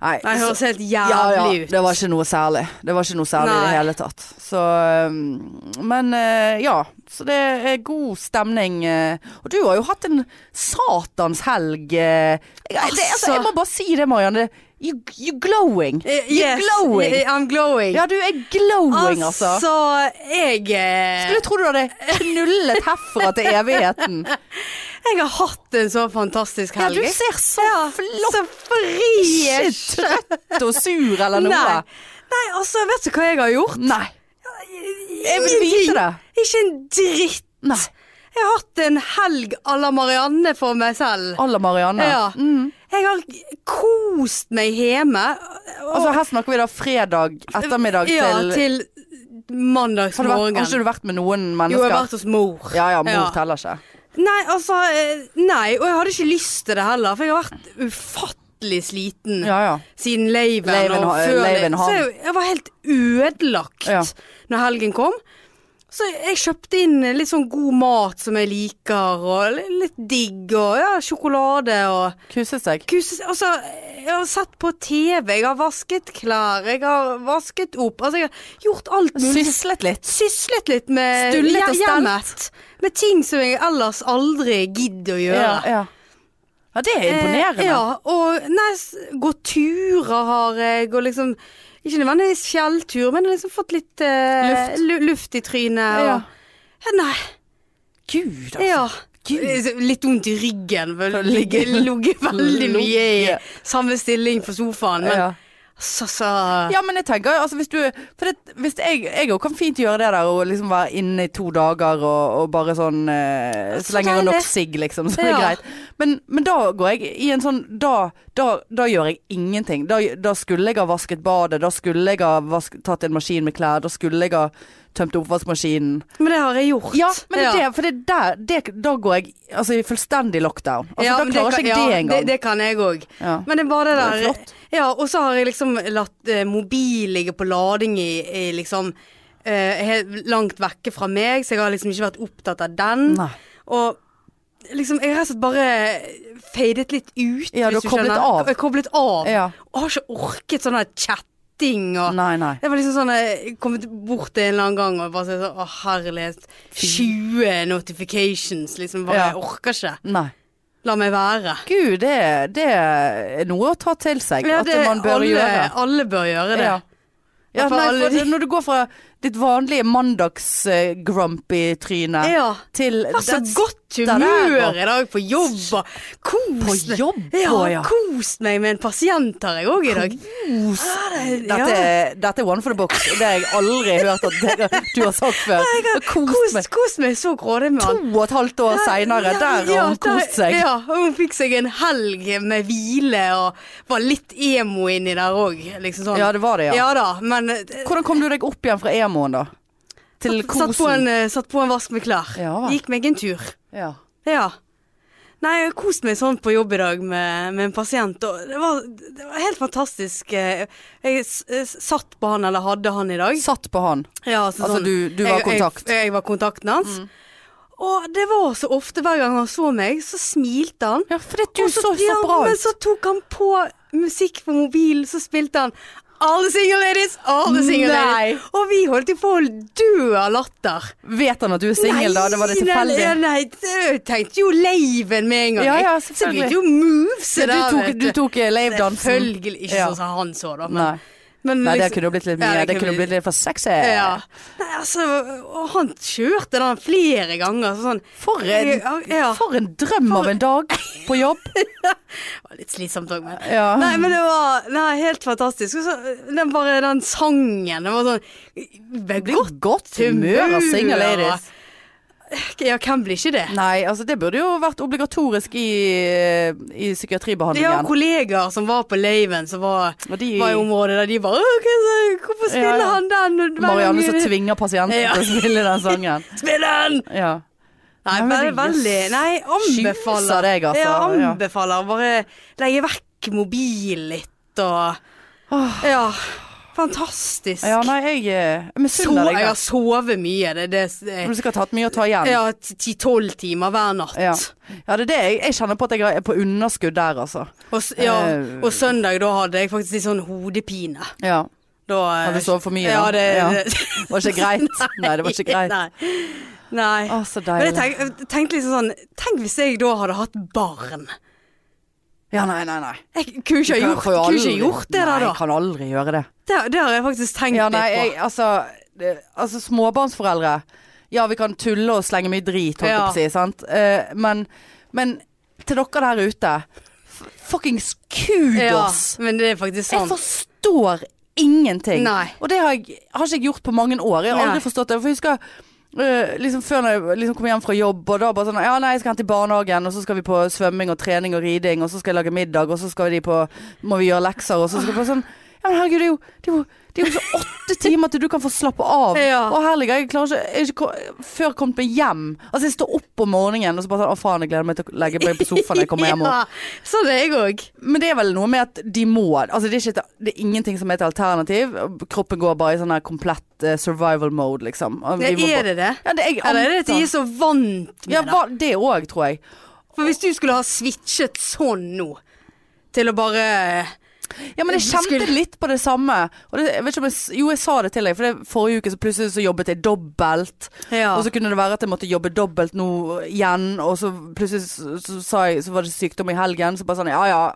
Speaker 1: Nei,
Speaker 2: Nei, det
Speaker 1: så-
Speaker 2: høres helt
Speaker 1: ja, ja,
Speaker 2: jævlig ut.
Speaker 1: det var ikke noe særlig. Det var ikke noe særlig i
Speaker 2: Nei.
Speaker 1: det hele tatt. Så um, Men eh, ja. Så det er god stemning. eh. Og du har jo hatt en satans helg. eh. Jeg, det, altså,
Speaker 2: Altså.
Speaker 1: jeg må bare si det, Mariann. Det- You, you glowing.
Speaker 2: Eh,
Speaker 1: You're glowing.
Speaker 2: eh, I'm glowing.
Speaker 1: Ja, du er glowing, altså.
Speaker 2: altså, jeg eh,
Speaker 1: Skulle tro du hadde knullet herfra til evigheten.
Speaker 2: Jeg har hatt en så fantastisk
Speaker 1: Ja,
Speaker 2: helg.
Speaker 1: du ser så flott
Speaker 2: Så eh, fresh!
Speaker 1: Ikke trøtt og sur eller noe.
Speaker 2: Nei. Nei, altså, vet du hva jeg har gjort?
Speaker 1: Nei. Jeg vil vite det.
Speaker 2: Ikke en dritt.
Speaker 1: Nei.
Speaker 2: Jeg har hatt en helg à la Marianne for meg selv.
Speaker 1: Alla Marianne.
Speaker 2: Ja.
Speaker 1: Mm.
Speaker 2: Jeg har kost meg hjemme. og-
Speaker 1: Altså her snakker vi da fredag ettermiddag til,
Speaker 2: ja, til
Speaker 1: har, du vært,
Speaker 2: mandagsmorgen.
Speaker 1: har ikke du vært med noen
Speaker 2: Jo, jeg har
Speaker 1: mennesker?
Speaker 2: vært hos mor.
Speaker 1: ja ja, mor
Speaker 2: Ja.
Speaker 1: teller ikke.
Speaker 2: Nei, altså eh, Nei, og jeg hadde ikke lyst til det heller, for jeg har vært ufattelig sliten
Speaker 1: Ja ja.
Speaker 2: siden laven.
Speaker 1: Laven
Speaker 2: og
Speaker 1: har-
Speaker 2: før det.
Speaker 1: laven har-
Speaker 2: Så jeg, jeg var helt ødelagt
Speaker 1: Ja.
Speaker 2: når helgen kom. Så jeg kjøpte inn litt sånn god mat som jeg liker, og li- litt digg, og ja, sjokolade og
Speaker 1: Kuset seg.
Speaker 2: kus, Altså, jeg har sett på TV, jeg har vasket klær, jeg har vasket opp Altså, jeg har gjort alt mulig
Speaker 1: Syslet litt.
Speaker 2: syslet litt med
Speaker 1: Stullet og
Speaker 2: hje-
Speaker 1: stelt.
Speaker 2: hjemmet. Med ting som jeg ellers aldri gidder å gjøre.
Speaker 1: Ja, ja. ja det er imponerende.
Speaker 2: Eh, ja, og nei, s- gå turer har jeg, og liksom Ikke nødvendigvis fjelltur, men liksom fått litt eh,
Speaker 1: Luft.
Speaker 2: lu- luft i trynet.
Speaker 1: Ja.
Speaker 2: Og, ja, nei,
Speaker 1: Gud, altså.
Speaker 2: ja. Eh,
Speaker 1: Gud.
Speaker 2: Litt vondt i ryggen. vel,
Speaker 1: Ligge-
Speaker 2: Ligget ligget veldig mye i
Speaker 1: Ligge.
Speaker 2: samme stilling på sofaen. Men
Speaker 1: Ja.
Speaker 2: så, så
Speaker 1: ja, men jeg tenker altså hvis du For det, hvis jeg, jeg jo kan fint gjøre det der og liksom være inne i to dager og, og bare sånn eh,
Speaker 2: Så
Speaker 1: Så lenge jeg har nok
Speaker 2: deilig.
Speaker 1: sigg, liksom, så er det
Speaker 2: Ja.
Speaker 1: greit. Men, men da går jeg i en sånn Da, da, da gjør jeg ingenting. Da, da skulle jeg ha vasket badet, da skulle jeg ha vask, tatt en maskin med klær, da skulle jeg ha tømt oppvaskmaskinen.
Speaker 2: Men det har jeg gjort.
Speaker 1: Ja, men det, er det, for det er der det, Da går jeg altså, i fullstendig lockdown. Altså,
Speaker 2: Ja,
Speaker 1: da
Speaker 2: men
Speaker 1: klarer
Speaker 2: kan-
Speaker 1: ikke jeg
Speaker 2: ja,
Speaker 1: det engang.
Speaker 2: Det, det kan jeg òg.
Speaker 1: ja.
Speaker 2: Men det var det
Speaker 1: Det var
Speaker 2: der
Speaker 1: flott.
Speaker 2: Ja, og så har jeg liksom latt eh, mobil ligge på lading i, i liksom eh, helt langt vekke fra meg, så jeg har liksom ikke vært opptatt av den.
Speaker 1: Nei.
Speaker 2: Og liksom jeg har rett og slett bare fadet litt ut,
Speaker 1: Ja, du har koblet av.
Speaker 2: Jeg har koblet av.
Speaker 1: Ja.
Speaker 2: Og har ikke orket sånn der chatting og
Speaker 1: Nei, nei.
Speaker 2: Det var liksom sånn jeg kom bort til en eller annen gang og bare sånn Å, herlighet. 20 notifications, liksom. Bare,
Speaker 1: Ja.
Speaker 2: Jeg orker ikke.
Speaker 1: nei.
Speaker 2: La meg være.
Speaker 1: Gud, det, det er noe å ta til seg.
Speaker 2: Ja,
Speaker 1: at man bør
Speaker 2: alle,
Speaker 1: gjøre.
Speaker 2: alle bør gjøre det.
Speaker 1: Ja. Ja,
Speaker 2: Hvorfor
Speaker 1: nei,
Speaker 2: alle
Speaker 1: for
Speaker 2: de-
Speaker 1: det- når du går fra ditt vanlige mandags-grumpy-tryne
Speaker 2: Ja.
Speaker 1: til
Speaker 2: Det var så
Speaker 1: den-
Speaker 2: godt godt
Speaker 1: sitter der og-
Speaker 2: humør i dag på jobb og
Speaker 1: På
Speaker 2: kost meg.
Speaker 1: jobb,
Speaker 2: Ja,
Speaker 1: og ja.
Speaker 2: kost meg med en pasient har jeg òg i dag. eh,
Speaker 1: Kos.
Speaker 2: Ah, det-
Speaker 1: Dette, er- dette er one for the box. Det har jeg aldri hørt at dere- du har sagt før. Kos
Speaker 2: Kost,
Speaker 1: meg.
Speaker 2: kost meg så grådig med
Speaker 1: To
Speaker 2: han.
Speaker 1: og et halvt år seinere, der har hun
Speaker 2: der-
Speaker 1: kost seg.
Speaker 2: Ja, og hun fikk seg en helg med hvile og var litt emo inni der òg. Liksom sånn.
Speaker 1: Ja, det var det, ja.
Speaker 2: Ja da, men eh,
Speaker 1: Hvordan kom du deg opp igjen fra emoen, da? Til
Speaker 2: satt på, en,
Speaker 1: kosen?
Speaker 2: eh, satt på en vask med klær.
Speaker 1: Ja vel.
Speaker 2: Gikk meg en tur.
Speaker 1: Ja.
Speaker 2: Ja. Nei, jeg koste meg sånn på jobb i dag med, med en pasient, og det var, det var helt fantastisk. eh, Jeg s- eh, satt på han, eller hadde han i dag.
Speaker 1: Satt på han.
Speaker 2: Ja, så
Speaker 1: Altså, du- du var
Speaker 2: jeg,
Speaker 1: kontakt. Mm.
Speaker 2: Jeg, jeg var kontakten hans. Og det var så ofte, hver gang han så meg, så smilte han.
Speaker 1: Ja, for det du
Speaker 2: Og
Speaker 1: så så
Speaker 2: ja,
Speaker 1: bra
Speaker 2: men
Speaker 1: ut.
Speaker 2: så tok han på musikk på mobilen, så spilte han All the single ladies, all the single
Speaker 1: Nei.
Speaker 2: ladies. Og vi holdt jo på å dø av latter.
Speaker 1: Vet han at du er singel, da? Det var det
Speaker 2: Nei,
Speaker 1: tilfeldig.
Speaker 2: Nei, nei, jeg tenkte jo laven med en gang.
Speaker 1: Ja, ja,
Speaker 2: jeg. så
Speaker 1: selvfølgelig.
Speaker 2: begynte jo moves
Speaker 1: Ja, du tok, du tok eh, lave-dansen.
Speaker 2: Selvfølgelig ikke
Speaker 1: Ja.
Speaker 2: sånn som han så, da. Men,
Speaker 1: Nei.
Speaker 2: men
Speaker 1: Nei, det
Speaker 2: liksom-
Speaker 1: kunne blitt litt mye.
Speaker 2: Ja, det
Speaker 1: Det
Speaker 2: kunne
Speaker 1: kunne
Speaker 2: blitt-
Speaker 1: blitt litt for sexy.
Speaker 2: ja. Nei, altså, og han kjørte den flere ganger. så Sånn,
Speaker 1: For en,
Speaker 2: Ja, ja.
Speaker 1: for en drøm av en dag på jobb.
Speaker 2: Det var litt slitsomt òg, men.
Speaker 1: Ja.
Speaker 2: Nei, men det var nei, helt fantastisk. Og så, den, bare den sangen. Det var sånn ble Godt
Speaker 1: Godt humør av single ladies.
Speaker 2: Ja, hvem blir ikke det?
Speaker 1: Nei, altså det burde jo vært obligatorisk i, i
Speaker 2: Det var
Speaker 1: psykiatribehandlingen.
Speaker 2: kollegaer som var på laven, som var,
Speaker 1: Og de-
Speaker 2: var i området der de bare «Åh, hva- Hvorfor spiller
Speaker 1: Ja, ja.
Speaker 2: han den? Hver gang
Speaker 1: Marianne som
Speaker 2: vi-
Speaker 1: tvinger pasienten
Speaker 2: Ja.
Speaker 1: til å spille den sangen.
Speaker 2: Spiller den!
Speaker 1: Ja. Nei,
Speaker 2: Nei, veldig,
Speaker 1: men det-
Speaker 2: veldig Nei,
Speaker 1: Kyser
Speaker 2: anbefaler.
Speaker 1: deg, altså.
Speaker 2: Ja,
Speaker 1: Ja.
Speaker 2: anbefaler. Bare legge vekk mobilen litt og Ja. Fantastisk.
Speaker 1: ja, nei, jeg eh,
Speaker 2: Så,
Speaker 1: misunner deg
Speaker 2: jeg har
Speaker 1: det.
Speaker 2: sovet mye. Det, det,
Speaker 1: Du
Speaker 2: det,
Speaker 1: har sikkert hatt mye å ta igjen.
Speaker 2: ja, ti-tolv timer hver natt.
Speaker 1: Ja, ja det er det jeg, jeg kjenner på at jeg er på underskudd der, altså.
Speaker 2: Og, s- ja,
Speaker 1: Eh.
Speaker 2: og søndag da hadde jeg faktisk litt sånn hodepine.
Speaker 1: Ja.
Speaker 2: Da, eh,
Speaker 1: Hadde du sovet for mye,
Speaker 2: Ja,
Speaker 1: da?
Speaker 2: det,
Speaker 1: Ja.
Speaker 2: det
Speaker 1: Var ikke greit? Nei, det var ikke greit.
Speaker 2: Nei. nei.
Speaker 1: Å, så
Speaker 2: Men jeg
Speaker 1: deilig.
Speaker 2: tenk, jeg tenkte liksom sånn Tenk hvis jeg da hadde hatt barn.
Speaker 1: Ja, nei, nei, nei.
Speaker 2: Jeg kunne ikke ha
Speaker 1: Får
Speaker 2: gjort,
Speaker 1: jo
Speaker 2: kunne ikke
Speaker 1: aldri-
Speaker 2: gjort det der,
Speaker 1: Nei,
Speaker 2: da.
Speaker 1: jeg kan aldri gjøre det.
Speaker 2: Det, det har jeg faktisk tenkt
Speaker 1: Ja, nei, jeg,
Speaker 2: litt på.
Speaker 1: altså, det, altså Småbarnsforeldre Ja, vi kan tulle og slenge mye drit, holdt jeg
Speaker 2: Ja.
Speaker 1: på å si. Sant? Eh, men, men til dere der ute f- Fuckings
Speaker 2: Ja,
Speaker 1: kudos!
Speaker 2: men det er faktisk
Speaker 1: Jeg
Speaker 2: sant.
Speaker 1: forstår ingenting.
Speaker 2: Nei.
Speaker 1: Og det har jeg har ikke jeg gjort på mange år. Jeg har aldri
Speaker 2: Nei.
Speaker 1: forstått det. For jeg husker øh, liksom før når jeg liksom kom hjem fra jobb, og da bare sånn Ja, nei, jeg skal hente i barnehagen, og så skal vi på svømming og trening og riding, og så skal jeg lage middag, og så skal de på Må vi gjøre lekser, og så skal vi på sånn Ja, men herregud, det er jo, det er jo det er jo så åtte timer til du kan få slappe av.
Speaker 2: Ja.
Speaker 1: Og her ligger jeg klarer ikke, jeg er ikke ko- før kommet meg hjem. Altså jeg står opp om morgenen og så bare sånn Å faen, jeg gleder meg til å legge meg på sofaen når jeg kommer hjem. Og,
Speaker 2: Ja, sånn er jeg òg.
Speaker 1: men det er vel noe med at de må Altså det er, ikke, et- det er ingenting som er et alternativ. Kroppen går bare i sånn her komplett eh, survival mode, liksom. Og vi må bare-
Speaker 2: Er det det?
Speaker 1: Ja, det jeg
Speaker 2: Eller er det at de
Speaker 1: antar-
Speaker 2: er så vant med
Speaker 1: ja,
Speaker 2: det?
Speaker 1: hva, det òg, tror jeg.
Speaker 2: sånn. For hvis du skulle ha switchet sånn nå, til å bare
Speaker 1: Ja, men jeg kjente
Speaker 2: Skulle-
Speaker 1: litt på det samme. Og det, jeg vet ikke om jeg, s- jo, jeg sa det til deg, for det, forrige uke så plutselig så jobbet jeg dobbelt.
Speaker 2: Ja.
Speaker 1: Og så kunne det være at jeg måtte jobbe dobbelt nå igjen, og så plutselig så, så, sa jeg, så var det sykdom i helgen, så bare sånn ja ja.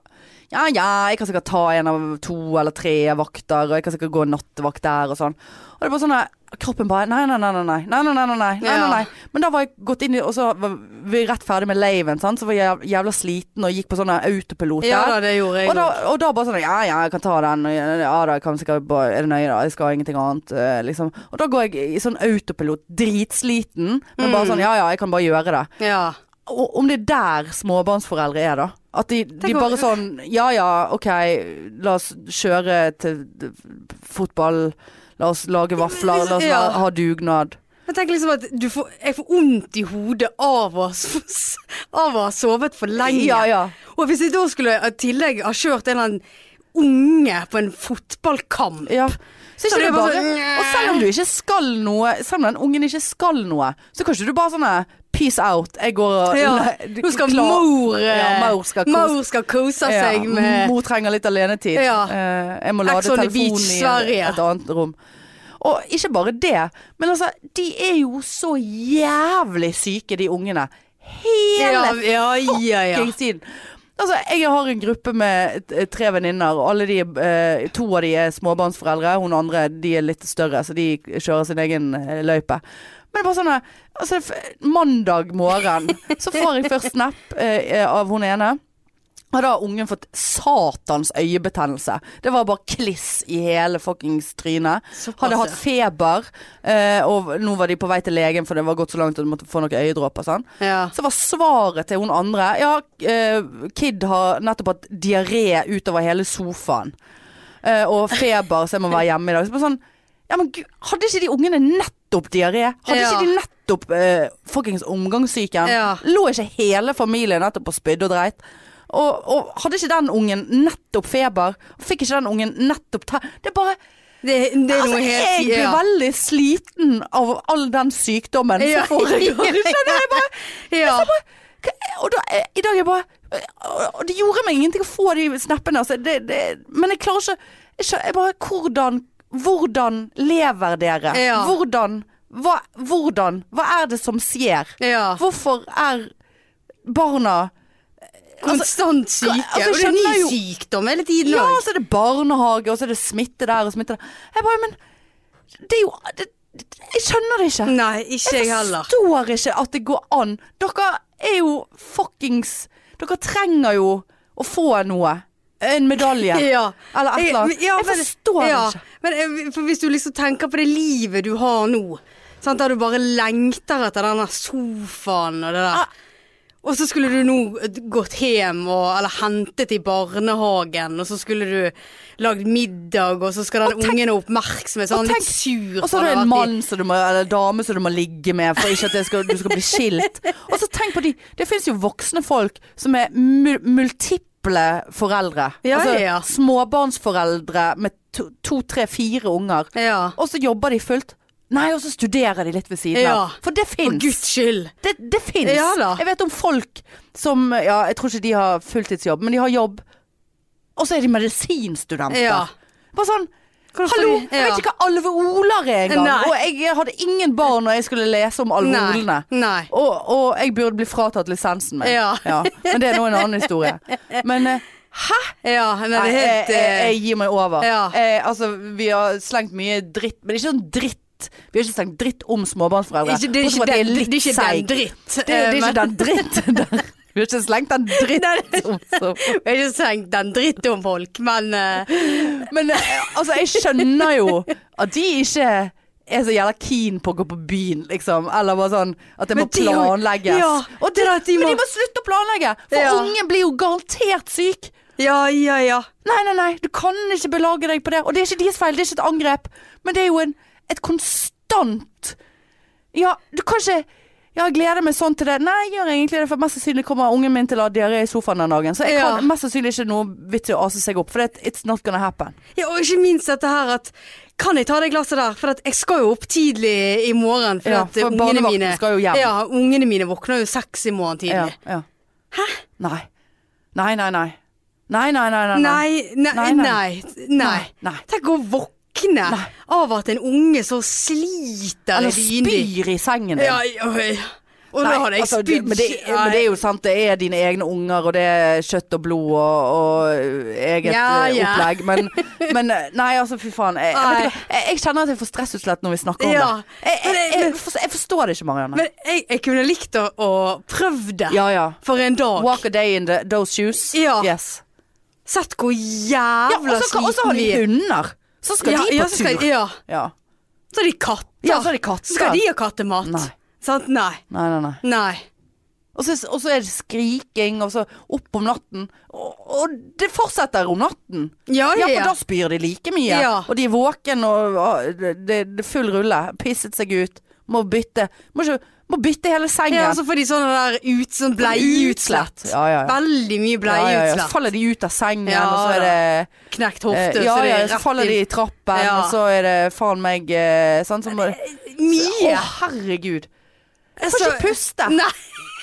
Speaker 1: Ja ja, jeg kan sikkert ta en av to eller tre vakter, og jeg kan sikkert gå nattevakt der og sånn. Og det var sånn at kroppen bare nei, nei, nei, nei, nei, nei, nei, nei, nei, nei, nei,
Speaker 2: Ja.
Speaker 1: nei. Men da var jeg gått inn i, og så var vi rett ferdig med laven, sant, så var jeg jævla sliten og gikk på sånn autopilot
Speaker 2: Ja
Speaker 1: der.
Speaker 2: da, det gjorde
Speaker 1: Og
Speaker 2: jeg
Speaker 1: da,
Speaker 2: òg.
Speaker 1: og da bare sånn Ja, ja, jeg kan ta den. og Ja da, jeg kan sikkert bare Er det nøye, da? Jeg skal ingenting annet, eh, liksom. Og da går jeg i sånn autopilot, dritsliten, men bare
Speaker 2: Mm.
Speaker 1: sånn Ja, ja, jeg kan bare gjøre det.
Speaker 2: Ja.
Speaker 1: Og om det er der småbarnsforeldre er, da? At de, de
Speaker 2: Tenk om-
Speaker 1: bare sånn Ja ja, OK, la oss kjøre til d- fotball. La oss lage vafler. La oss
Speaker 2: Ja.
Speaker 1: være- ha dugnad.
Speaker 2: Jeg tenker liksom at du får, jeg får vondt i hodet av å, s- av å ha sovet for lenge.
Speaker 1: Ja ja.
Speaker 2: Og hvis jeg da skulle i tillegg ha kjørt en eller annen unge på en fotballkamp
Speaker 1: ja. Så
Speaker 2: Så
Speaker 1: ikke
Speaker 2: det
Speaker 1: det
Speaker 2: er bare
Speaker 1: bare,
Speaker 2: sånn,
Speaker 1: og selv om du ikke skal noe, selv om den ungen ikke skal noe, så kan ikke du bare sånn eh, peace out, jeg går og
Speaker 2: ja.
Speaker 1: Nei, du-
Speaker 2: Nå skal
Speaker 1: klar-
Speaker 2: mor eh,
Speaker 1: Ja, Maur skal kose-
Speaker 2: Maur skal kose
Speaker 1: Ja,
Speaker 2: seg med
Speaker 1: Mor trenger litt alenetid.
Speaker 2: Ja.
Speaker 1: Eh, jeg må lade
Speaker 2: Ex on the
Speaker 1: telefonen
Speaker 2: beach,
Speaker 1: i
Speaker 2: Sverige.
Speaker 1: et annet rom. Og ikke bare det, men altså, de er jo så jævlig syke, de ungene. Hele
Speaker 2: ja, ja, ja, ja.
Speaker 1: fuckings tiden. Altså, jeg har en gruppe med t- tre venninner, og alle de, eh, to av de er småbarnsforeldre. Hun andre de er litt større, så de kjører sin egen eh, løype. Men det er bare sånn eh, altså, f- Mandag morgen så får jeg først snap eh, av hun ene. Og da har ungen fått satans øyebetennelse. Det var bare kliss i hele fuckings trynet.
Speaker 2: Såpass,
Speaker 1: Hadde
Speaker 2: ja.
Speaker 1: hatt feber, eh, og nå var de på vei til legen, for det var gått så langt at de måtte få noen øyedråper. Sånn.
Speaker 2: Ja.
Speaker 1: Så var svaret til hun andre Ja, eh, Kid har nettopp hatt diaré utover hele sofaen. Eh, og feber, så jeg må være hjemme i dag. Så bare sånn Ja, men gud, hadde ikke de ungene nettopp diaré? Hadde
Speaker 2: Ja.
Speaker 1: ikke de nettopp eh, fuckings omgangssyken?
Speaker 2: Ja.
Speaker 1: Lå ikke hele familien nettopp og spydde og dreit? Og, og hadde ikke den ungen nettopp feber? Fikk ikke den ungen nettopp te... Det er bare
Speaker 2: Det, det er
Speaker 1: Altså,
Speaker 2: noe
Speaker 1: jeg
Speaker 2: helt
Speaker 1: blir veldig sliten av all den sykdommen
Speaker 2: Ja.
Speaker 1: som foregår. Skjønner du? Jeg bare
Speaker 2: Ja.
Speaker 1: hva- Og da, eh, i dag er jeg bare eh, og Det gjorde meg ingenting å få de snappene. Altså. Det, det, men jeg klarer ikke jeg, skjø- jeg bare Hvordan Hvordan lever dere?
Speaker 2: Ja.
Speaker 1: Hvordan, hva, hvordan Hva er det som skjer?
Speaker 2: ja.
Speaker 1: Hvorfor er barna
Speaker 2: Konstant syke.
Speaker 1: altså, jeg
Speaker 2: og det er ny
Speaker 1: skjønner jo-
Speaker 2: sykdom hele tiden
Speaker 1: Ja, altså,
Speaker 2: òg.
Speaker 1: så er det barnehage, og så er det smitte der og smitte der. Jeg bare Men det er jo det, det- Jeg skjønner det ikke.
Speaker 2: Nei, ikke
Speaker 1: altså,
Speaker 2: jeg heller.
Speaker 1: forstår ikke at det går an. Dere er jo fuckings Dere trenger jo å få noe. En medalje.
Speaker 2: Ja.
Speaker 1: Eller et eller annet.
Speaker 2: Ja,
Speaker 1: Jeg
Speaker 2: men-
Speaker 1: forstår
Speaker 2: ja,
Speaker 1: det ikke.
Speaker 2: Men eh, for hvis du liksom tenker på det livet du har nå, sant, der du bare lengter etter den der sofaen og det der.
Speaker 1: Ah.
Speaker 2: Og så skulle du nå gått hjem og, eller hentet i barnehagen, og så skulle du lagd middag, og så skal den ungen ha oppmerksomhet, så
Speaker 1: og
Speaker 2: han er
Speaker 1: tenk-
Speaker 2: litt sur.
Speaker 1: Og så har
Speaker 2: for
Speaker 1: du en
Speaker 2: at de-
Speaker 1: mann som du må, eller en dame som du må ligge med for ikke at det skal, du skal bli skilt. Og så tenk på de Det finnes jo voksne folk som er mul multiple foreldre.
Speaker 2: Ja,
Speaker 1: altså
Speaker 2: ja, ja.
Speaker 1: småbarnsforeldre med to, to, tre, fire unger.
Speaker 2: Ja.
Speaker 1: Og så jobber de fullt. Nei, og så studerer de litt ved siden
Speaker 2: Ja.
Speaker 1: av. For det
Speaker 2: For
Speaker 1: fins.
Speaker 2: guds skyld.
Speaker 1: Det, det fins.
Speaker 2: Ja da.
Speaker 1: jeg vet om folk som Ja, jeg tror ikke de har fulltidsjobb, men de har jobb. Og så er de medisinstudenter.
Speaker 2: Ja.
Speaker 1: Bare sånn
Speaker 2: Hvordan skal
Speaker 1: Hallo!
Speaker 2: de-
Speaker 1: Jeg
Speaker 2: ja.
Speaker 1: vet ikke hva alveoler er engang.
Speaker 2: Nei.
Speaker 1: Og jeg hadde ingen barn når jeg skulle lese om alveolene.
Speaker 2: Nei. Nei.
Speaker 1: Og, og jeg burde bli fratatt lisensen min.
Speaker 2: Ja.
Speaker 1: Men det er nå en annen historie. Men eh, hæ?
Speaker 2: Ja, men det
Speaker 1: Nei,
Speaker 2: er
Speaker 1: jeg,
Speaker 2: helt
Speaker 1: jeg,
Speaker 2: eh,
Speaker 1: jeg gir meg over.
Speaker 2: Ja.
Speaker 1: Eh, altså, vi har slengt mye dritt, men det er ikke sånn dritt. Vi har ikke slengt dritt om småbarnsforeldre.
Speaker 2: ikke, Det er
Speaker 1: bortsett fra at
Speaker 2: ikke
Speaker 1: de
Speaker 2: den, det
Speaker 1: litt
Speaker 2: er ikke
Speaker 1: seige.
Speaker 2: den dritt.
Speaker 1: Det, det er
Speaker 2: eh,
Speaker 1: ikke den dritten der. Vi har ikke slengt den dritten om så.
Speaker 2: Jeg har ikke tenkt den dritt om folk, men eh,
Speaker 1: Men eh, altså, jeg skjønner jo at de ikke er så jævla keen på å gå på byen, liksom. Eller bare sånn at det
Speaker 2: Men
Speaker 1: må
Speaker 2: det er jo-
Speaker 1: planlegges.
Speaker 2: ja,
Speaker 1: Og
Speaker 2: det er at de
Speaker 1: men
Speaker 2: må-
Speaker 1: de må slutte å planlegge! For
Speaker 2: Ja.
Speaker 1: ungen blir jo garantert syk.
Speaker 2: Ja, ja, ja.
Speaker 1: Nei, nei, nei, du kan ikke belage deg på det. Og det er ikke deres feil, det er ikke et angrep. Men det er jo en, et konstant Ja, du kan ikke Ja, jeg gleder meg sånn til det. Nei, jeg gjør egentlig det, for mest sannsynlig kommer ungen min til å ha diaré i sofaen den dagen. Så jeg
Speaker 2: Ja.
Speaker 1: kan mest sannsynlig ikke noe vits i å ase seg opp, for det, it's not gonna happen.
Speaker 2: Ja, og ikke minst dette her at Kan jeg ta det glasset der? For at jeg skal jo opp tidlig i morgen. For,
Speaker 1: Ja,
Speaker 2: at
Speaker 1: for
Speaker 2: ungene
Speaker 1: barnevakten
Speaker 2: mine,
Speaker 1: skal jo hjem.
Speaker 2: Ja, ungene mine våkner jo seks i morgen tidlig.
Speaker 1: Ja, ja. Hæ? Nei. Nei, nei, nei. Nei, nei, nei, nei. nei.
Speaker 2: Nei, nei,
Speaker 1: Nei,
Speaker 2: nei,
Speaker 1: nei.
Speaker 2: nei,
Speaker 1: Nei, nei.
Speaker 2: Tenk å våkne
Speaker 1: Nei.
Speaker 2: av at en unge så sliter
Speaker 1: Eller
Speaker 2: vindig.
Speaker 1: spyr i sengen din.
Speaker 2: Ja, oi. Og da
Speaker 1: Nei,
Speaker 2: hadde jeg
Speaker 1: altså, det-
Speaker 2: spydd.
Speaker 1: men, det- men det er jo sant, det er dine egne unger, og det er kjøtt og blod og, og eget
Speaker 2: Ja,
Speaker 1: eh,
Speaker 2: ja.
Speaker 1: opplegg. Men, men eh, nei, altså fy faen. Jeg, jeg, vet
Speaker 2: Nei.
Speaker 1: ikke, jeg, jeg kjenner at jeg får stressutslett når vi snakker om
Speaker 2: Ja,
Speaker 1: det. Jeg, jeg,
Speaker 2: men-
Speaker 1: jeg, forstår, jeg forstår det ikke, Marianne.
Speaker 2: Men jeg, jeg kunne likt å, å prøve det
Speaker 1: ja ja.
Speaker 2: for en dag.
Speaker 1: Walk a day in the, those shoes.
Speaker 2: Ja.
Speaker 1: Yes.
Speaker 2: Sett hvor
Speaker 1: Ja,
Speaker 2: jævla
Speaker 1: og så kan- og så har
Speaker 2: sliten vi
Speaker 1: de
Speaker 2: er.
Speaker 1: hunder. Så skal
Speaker 2: Ja,
Speaker 1: de
Speaker 2: ja,
Speaker 1: på
Speaker 2: så skal-
Speaker 1: tur.
Speaker 2: Ja,
Speaker 1: Ja.
Speaker 2: så har de katter.
Speaker 1: Ja, så har de katter.
Speaker 2: Så skal de ha kattemat.
Speaker 1: Nei.
Speaker 2: Sant? Nei.
Speaker 1: Nei, nei, nei.
Speaker 2: Nei.
Speaker 1: Og så, og så er det skriking, og så opp om natten. Og, og det fortsetter om natten.
Speaker 2: Ja,
Speaker 1: Ja,
Speaker 2: ja,
Speaker 1: for da
Speaker 2: ja.
Speaker 1: spyr de like mye.
Speaker 2: Ja.
Speaker 1: Og de er våken og og det det er full rulle. Pisset seg ut. Må bytte. Må, ikke, må bytte hele sengen.
Speaker 2: ja, og så får de sånne der ut, sånn bleieutslett.
Speaker 1: Ja, ja, ja.
Speaker 2: Veldig mye
Speaker 1: Ja, ja, ja. Så
Speaker 2: bleieutslett.
Speaker 1: faller de ut av sengen,
Speaker 2: Ja,
Speaker 1: og så er
Speaker 2: da.
Speaker 1: det
Speaker 2: Knekt
Speaker 1: eh,
Speaker 2: hofte.
Speaker 1: Ja,
Speaker 2: så det
Speaker 1: ja,
Speaker 2: er
Speaker 1: så
Speaker 2: rett
Speaker 1: faller de i trappen,
Speaker 2: Ja.
Speaker 1: og så er det faen meg eh, sånn som Å,
Speaker 2: inn. Mye.
Speaker 1: herregud.
Speaker 2: Jeg
Speaker 1: Jeg får ikke puste.
Speaker 2: Nei,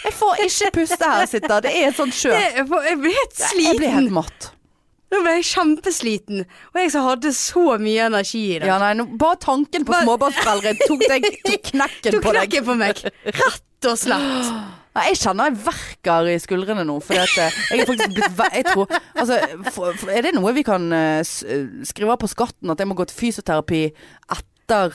Speaker 1: Jeg får ikke puste her jeg sitter. Det er et sånt sjø.
Speaker 2: jeg får- jeg blir helt
Speaker 1: Jeg blir
Speaker 2: sliten.
Speaker 1: helt matt.
Speaker 2: Nå ble jeg kjempesliten. Og jeg som hadde så mye energi i det.
Speaker 1: Ja, nei, nå, bare tanken på
Speaker 2: Bare-
Speaker 1: småbarnsforeldre tok, deg- tok knekken
Speaker 2: Du
Speaker 1: på deg.
Speaker 2: knekker på meg. Rett og slett.
Speaker 1: Ja, jeg kjenner jeg verker i skuldrene nå, for jeg er faktisk blitt ve- jeg tror, altså, for, for, Er det noe vi kan eh, s- eh, skrive av på skatten, at jeg må gå til fysioterapi etter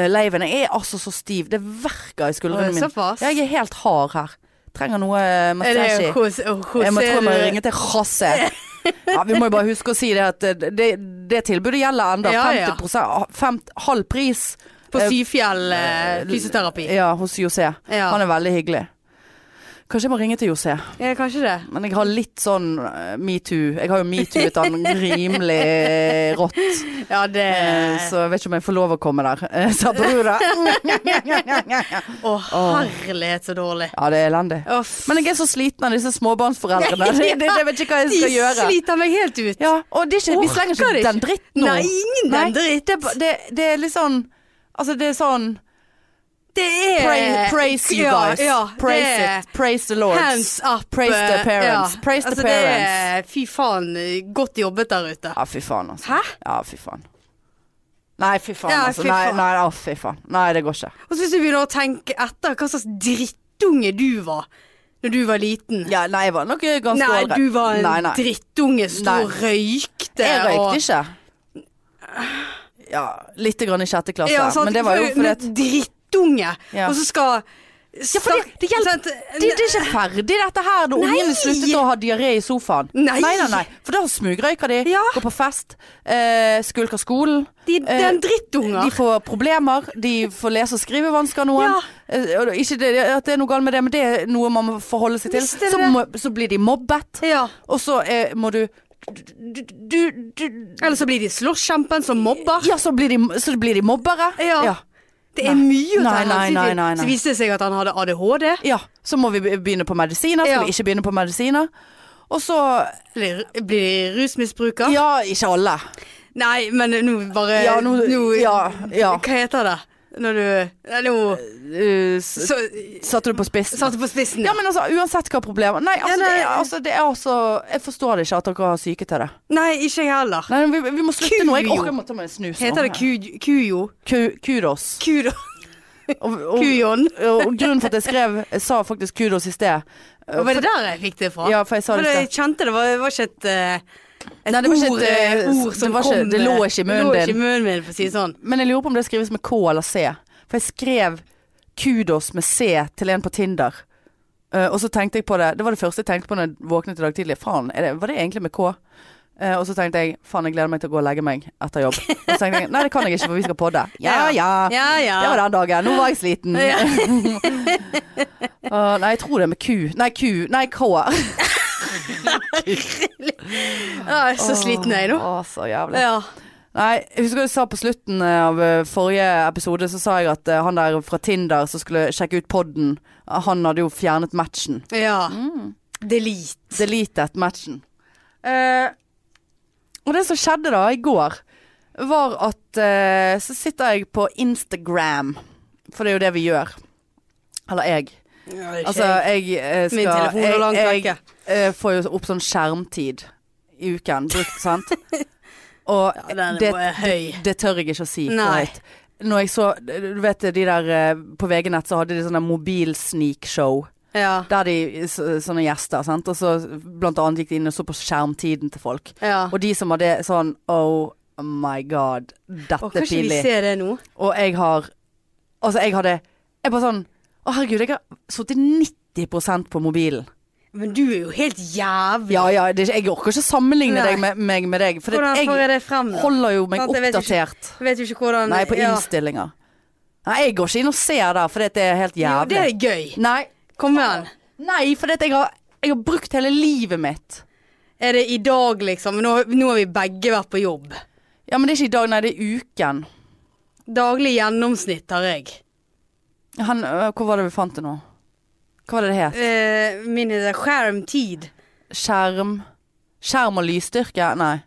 Speaker 1: uh, leiven? Jeg er altså så stiv. Det verker i skuldrene mine.
Speaker 2: Såpass.
Speaker 1: Ja, Jeg er helt hard her. Trenger noe eh,
Speaker 2: Er det
Speaker 1: massasje.
Speaker 2: hos, hos
Speaker 1: Jeg må tro jeg må
Speaker 2: er du-
Speaker 1: ringe til Rasse. Ja, vi må jo bare huske å si det at eh, det, det tilbudet gjelder enda.
Speaker 2: Ja, ja.
Speaker 1: 50%, fem, halv pris.
Speaker 2: På
Speaker 1: eh,
Speaker 2: Syfjell eh, fysioterapi.
Speaker 1: Ja, hos José.
Speaker 2: Ja.
Speaker 1: Han er veldig hyggelig. Kanskje jeg må ringe til José.
Speaker 2: ja, kanskje det.
Speaker 1: Men jeg har litt sånn eh, metoo. Jeg har jo metoo-et han rimelig eh, rått.
Speaker 2: Ja, det
Speaker 1: eh, Så jeg vet ikke om jeg får lov å komme der. Eh, Sa brura. Ja,
Speaker 2: Å, herlighet, så dårlig.
Speaker 1: det er elendig.
Speaker 2: Uff.
Speaker 1: Men jeg er så sliten av disse småbarnsforeldrene. Det, det, jeg vet ikke hva jeg
Speaker 2: De
Speaker 1: skal gjøre.
Speaker 2: sliter meg helt ut.
Speaker 1: Ja, og det er ikke, vi
Speaker 2: Orker
Speaker 1: slenger ikke
Speaker 2: det
Speaker 1: den
Speaker 2: ikke.
Speaker 1: dritten nå.
Speaker 2: Nei, ingen
Speaker 1: Nei,
Speaker 2: den dritt.
Speaker 1: Det, er ba- det, det er litt sånn Altså, det er sånn
Speaker 2: Det er
Speaker 1: Praise, praise you
Speaker 2: Eh, Ja,
Speaker 1: guys.
Speaker 2: Ja,
Speaker 1: praise
Speaker 2: det er
Speaker 1: it. Praise the lords.
Speaker 2: Hands up.
Speaker 1: Praise the
Speaker 2: eh,
Speaker 1: parents.
Speaker 2: ja.
Speaker 1: Praise the
Speaker 2: altså, Det er,
Speaker 1: parents.
Speaker 2: fy faen, eh, godt jobbet der ute.
Speaker 1: Ja, fy faen, altså.
Speaker 2: Hæ?
Speaker 1: Ja, fy faen. Nei, fy faen,
Speaker 2: Ja,
Speaker 1: altså.
Speaker 2: fy
Speaker 1: Nei,
Speaker 2: faen.
Speaker 1: nei, å, fy faen. Nei, det går ikke.
Speaker 2: Og så hvis du begynner å tenke etter hva slags drittunge du var Når du var liten.
Speaker 1: Ja, nei, jeg var nok ganske
Speaker 2: Nei,
Speaker 1: ålreit.
Speaker 2: du var en
Speaker 1: Nei, nei.
Speaker 2: drittunge som sto og røykte.
Speaker 1: Jeg
Speaker 2: og-
Speaker 1: røykte ikke. altså. Ja, lite grann i sjette klasse.
Speaker 2: Ja, sant?
Speaker 1: men det var jo fordi at
Speaker 2: Nå- Drittunge.
Speaker 1: Ja.
Speaker 2: Og så skal
Speaker 1: Ja, for det- det hjelper-
Speaker 2: Sant?
Speaker 1: det, det er ikke ferdig dette her når ungene sluttet å ha diaré i sofaen.
Speaker 2: Nei.
Speaker 1: nei, nei, nei. For da smugrøyker de,
Speaker 2: Ja.
Speaker 1: går på fest, eh, skulker skolen. eh,
Speaker 2: De, det er en
Speaker 1: De
Speaker 2: drittunger.
Speaker 1: får problemer, de får lese- og skrivevansker noen.
Speaker 2: Ja.
Speaker 1: Eh, og Ikke det, at det er noe galt med det, men det er noe man må forholde seg til.
Speaker 2: Visst er det
Speaker 1: Så,
Speaker 2: det.
Speaker 1: må, så blir de mobbet,
Speaker 2: Ja.
Speaker 1: og så eh, må du du, du, du
Speaker 2: Eller så blir de slåsskjempen som mobber.
Speaker 1: Ja, så blir de, så blir de mobbere.
Speaker 2: Ja.
Speaker 1: Ja.
Speaker 2: Det er
Speaker 1: Nei.
Speaker 2: mye å ta
Speaker 1: Nei, nei,
Speaker 2: hensyn
Speaker 1: nei,
Speaker 2: til.
Speaker 1: nei, nei.
Speaker 2: Så viste det seg at han hadde ADHD.
Speaker 1: Ja, Så må vi be- begynne på medisiner, skal
Speaker 2: Ja.
Speaker 1: vi ikke begynne på medisiner. Og så
Speaker 2: Eller blir de rusmisbruker?
Speaker 1: Ja, ikke alle.
Speaker 2: Nei, men nå bare
Speaker 1: Ja, nå- ja, ja.
Speaker 2: Hva heter det? Når du Nei, nå
Speaker 1: Uh, s-
Speaker 2: så,
Speaker 1: Satte du på spissen?
Speaker 2: Satte på spissen.
Speaker 1: Ja, men altså, uansett hva problemet Nei, altså,
Speaker 2: nei.
Speaker 1: det, er- altså, det er altså Jeg forstår det ikke at dere har syke til det.
Speaker 2: Nei, ikke jeg heller.
Speaker 1: Nei, Sånn, vi, vi må slutte nå. Jeg
Speaker 2: Kujo.
Speaker 1: orker jeg må ta meg en snus nå.
Speaker 2: Heter det ku- kujo?
Speaker 1: Ku- kudos.
Speaker 2: Kudo?
Speaker 1: Og, og,
Speaker 2: Kujon?
Speaker 1: og grunnen for at jeg skrev Jeg sa faktisk kudos i sted.
Speaker 2: Og Var det der jeg fikk det fra?
Speaker 1: Ja, for jeg sa
Speaker 2: For
Speaker 1: det i
Speaker 2: jeg
Speaker 1: sted.
Speaker 2: kjente det var, det var ikke et, eh, et
Speaker 1: Nei, det var ikke
Speaker 2: ord,
Speaker 1: et,
Speaker 2: eh,
Speaker 1: eh,
Speaker 2: ord
Speaker 1: det
Speaker 2: som
Speaker 1: var ikke-
Speaker 2: kom eh,
Speaker 1: det lå ikke i munnen
Speaker 2: Det lå ikke
Speaker 1: din.
Speaker 2: i munnen min, for å si det sånn.
Speaker 1: Men jeg lurer på om det skrives med K eller C. For jeg skrev kudos med C til en på Tinder. Eh, og så tenkte jeg på det Det var det første jeg tenkte på når jeg våknet i dag tidlig. Faen, er det, var det egentlig med K? Eh, og så tenkte jeg faen, jeg gleder meg til å gå og legge meg etter jobb. Og så tenkte jeg nei, det kan jeg ikke, for vi skal podde. Ja ja.
Speaker 2: ja, ja.
Speaker 1: Det var den dagen. Nå var jeg sliten.
Speaker 2: Ja.
Speaker 1: Åh, nei, jeg tror det er med Q. Nei, Q. Nei, K.
Speaker 2: Ja, jeg er så sliten jeg nå.
Speaker 1: Åh, så jævlig.
Speaker 2: Ja.
Speaker 1: Nei, jeg husker jeg sa på slutten eh, av eh, forrige episode, så sa jeg at eh, han der fra Tinder som skulle sjekke ut podden, eh, han hadde jo fjernet matchen.
Speaker 2: ja. Delete.
Speaker 1: Deletet matchen. Eh, og det som skjedde da i går, var at eh, så sitter jeg på Instagram, for det er jo det vi gjør. Eller jeg. Altså, jeg eh, skal
Speaker 2: Min telefon er
Speaker 1: jeg-
Speaker 2: langt
Speaker 1: jeg-
Speaker 2: vekke.
Speaker 1: eh, får jo opp sånn skjermtid i uken brukt, sant? Og
Speaker 2: Ja, den
Speaker 1: det,
Speaker 2: var høy.
Speaker 1: det tør jeg ikke å si.
Speaker 2: Nei.
Speaker 1: Right. Når jeg så, du vet de der eh, På VG-nett så hadde de sånne mobilsneakshow.
Speaker 2: Ja.
Speaker 1: Der de, så- sånne gjester, sant. Og så blant annet gikk de inn og så på skjermtiden til folk.
Speaker 2: ja.
Speaker 1: Og de som hadde sånn Oh my god, dette
Speaker 2: Og
Speaker 1: er
Speaker 2: kan ikke vi
Speaker 1: pinlig.
Speaker 2: se det nå?
Speaker 1: Og jeg har Altså, jeg hadde Jeg bare sånn Å herregud, jeg har sittet 90 på mobilen.
Speaker 2: Men du er jo helt jævlig.
Speaker 1: Ja, ja, det, er ikke- jeg orker ikke sammenligne
Speaker 2: Nei.
Speaker 1: deg med, meg med deg. For det-
Speaker 2: Hvordan
Speaker 1: jeg
Speaker 2: får jeg det frem? da?
Speaker 1: holder jo meg
Speaker 2: Sant, jeg vet ikke.
Speaker 1: oppdatert.
Speaker 2: Jeg vet jo ikke hvordan
Speaker 1: Nei, på
Speaker 2: ja.
Speaker 1: innstillinger. Nei, jeg går ikke inn og ser der, for det er helt
Speaker 2: Jo, det
Speaker 1: jævlig.
Speaker 2: er gøy.
Speaker 1: Nei,
Speaker 2: Kom igjen.
Speaker 1: Nei for jeg, har, jeg har brukt hele livet mitt.
Speaker 2: Er det i dag, liksom? Nå, nå har vi begge vært på jobb.
Speaker 1: Ja, men det er ikke i dag, nei, det er uken.
Speaker 2: Daglig gjennomsnitt har jeg.
Speaker 1: Han, øh, hvor var det vi fant det nå? Hva var det det het?
Speaker 2: Eh, min heter skjermtid.
Speaker 1: Skjerm Skjerm og lysstyrke? Nei.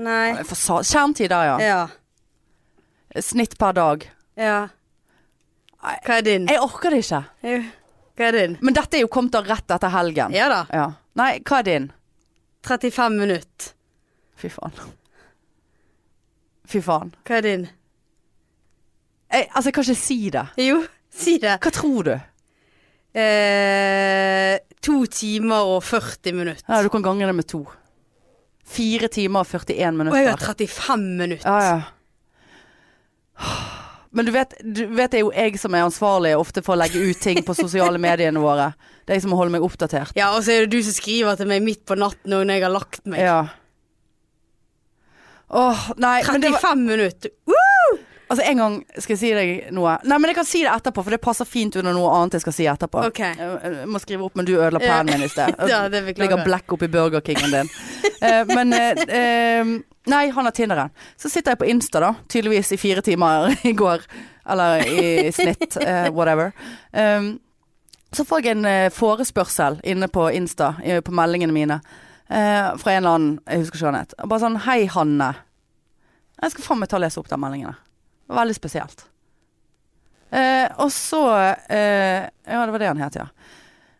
Speaker 2: Nei.
Speaker 1: For sa- Skjermtider, ja.
Speaker 2: Ja.
Speaker 1: Snitt per dag.
Speaker 2: ja.
Speaker 1: Nei.
Speaker 2: Hva er din?
Speaker 1: Jeg orker det ikke.
Speaker 2: Jo, Hva er din?
Speaker 1: Men dette er jo kommet da rett etter helgen.
Speaker 2: Ja da.
Speaker 1: Ja. Nei, hva er din?
Speaker 2: 35 minutter.
Speaker 1: Fy faen. Fy faen.
Speaker 2: Hva er din?
Speaker 1: Jeg, altså, jeg kan ikke si det.
Speaker 2: Jo, si det.
Speaker 1: Hva tror du?
Speaker 2: Eh, to timer og 40 minutter.
Speaker 1: Ja, du kan gange det med to. Fire timer og 41
Speaker 2: Og jeg har
Speaker 1: minutter.
Speaker 2: 35 minutter.
Speaker 1: Ja, ja. Men du vet, du vet det er jo jeg som er ansvarlig ofte for å legge ut ting på sosiale mediene våre. Det er jeg som må holde meg oppdatert.
Speaker 2: Ja, og så er det du som skriver til meg midt på natten og når jeg har lagt meg.
Speaker 1: Ja. Åh, nei. Men det
Speaker 2: 35
Speaker 1: var,
Speaker 2: minutter.
Speaker 1: altså en gang skal jeg si deg noe. Nei, men jeg kan si det etterpå, for det passer fint under noe annet jeg skal si etterpå.
Speaker 2: Ok.
Speaker 1: Jeg, jeg må skrive opp, men du ødela planen min i sted.
Speaker 2: Ja, det
Speaker 1: Ligger
Speaker 2: beklager jeg.
Speaker 1: black oppi Burger Kingen din. Eh, men eh, eh, Nei, han har Tinderen. Så sitter jeg på Insta, da. Tydeligvis i fire timer i går. Eller i snitt. eh, whatever. Um, så får jeg en eh, forespørsel inne på Insta, i- på meldingene mine, eh, fra en eller annen Jeg husker ikke hva han het. Bare sånn Hei, Hanne. Jeg skal faen meg ta og lese opp den meldingen. der. Det var Veldig spesielt. Eh, og så eh, Ja, det var det han het, ja.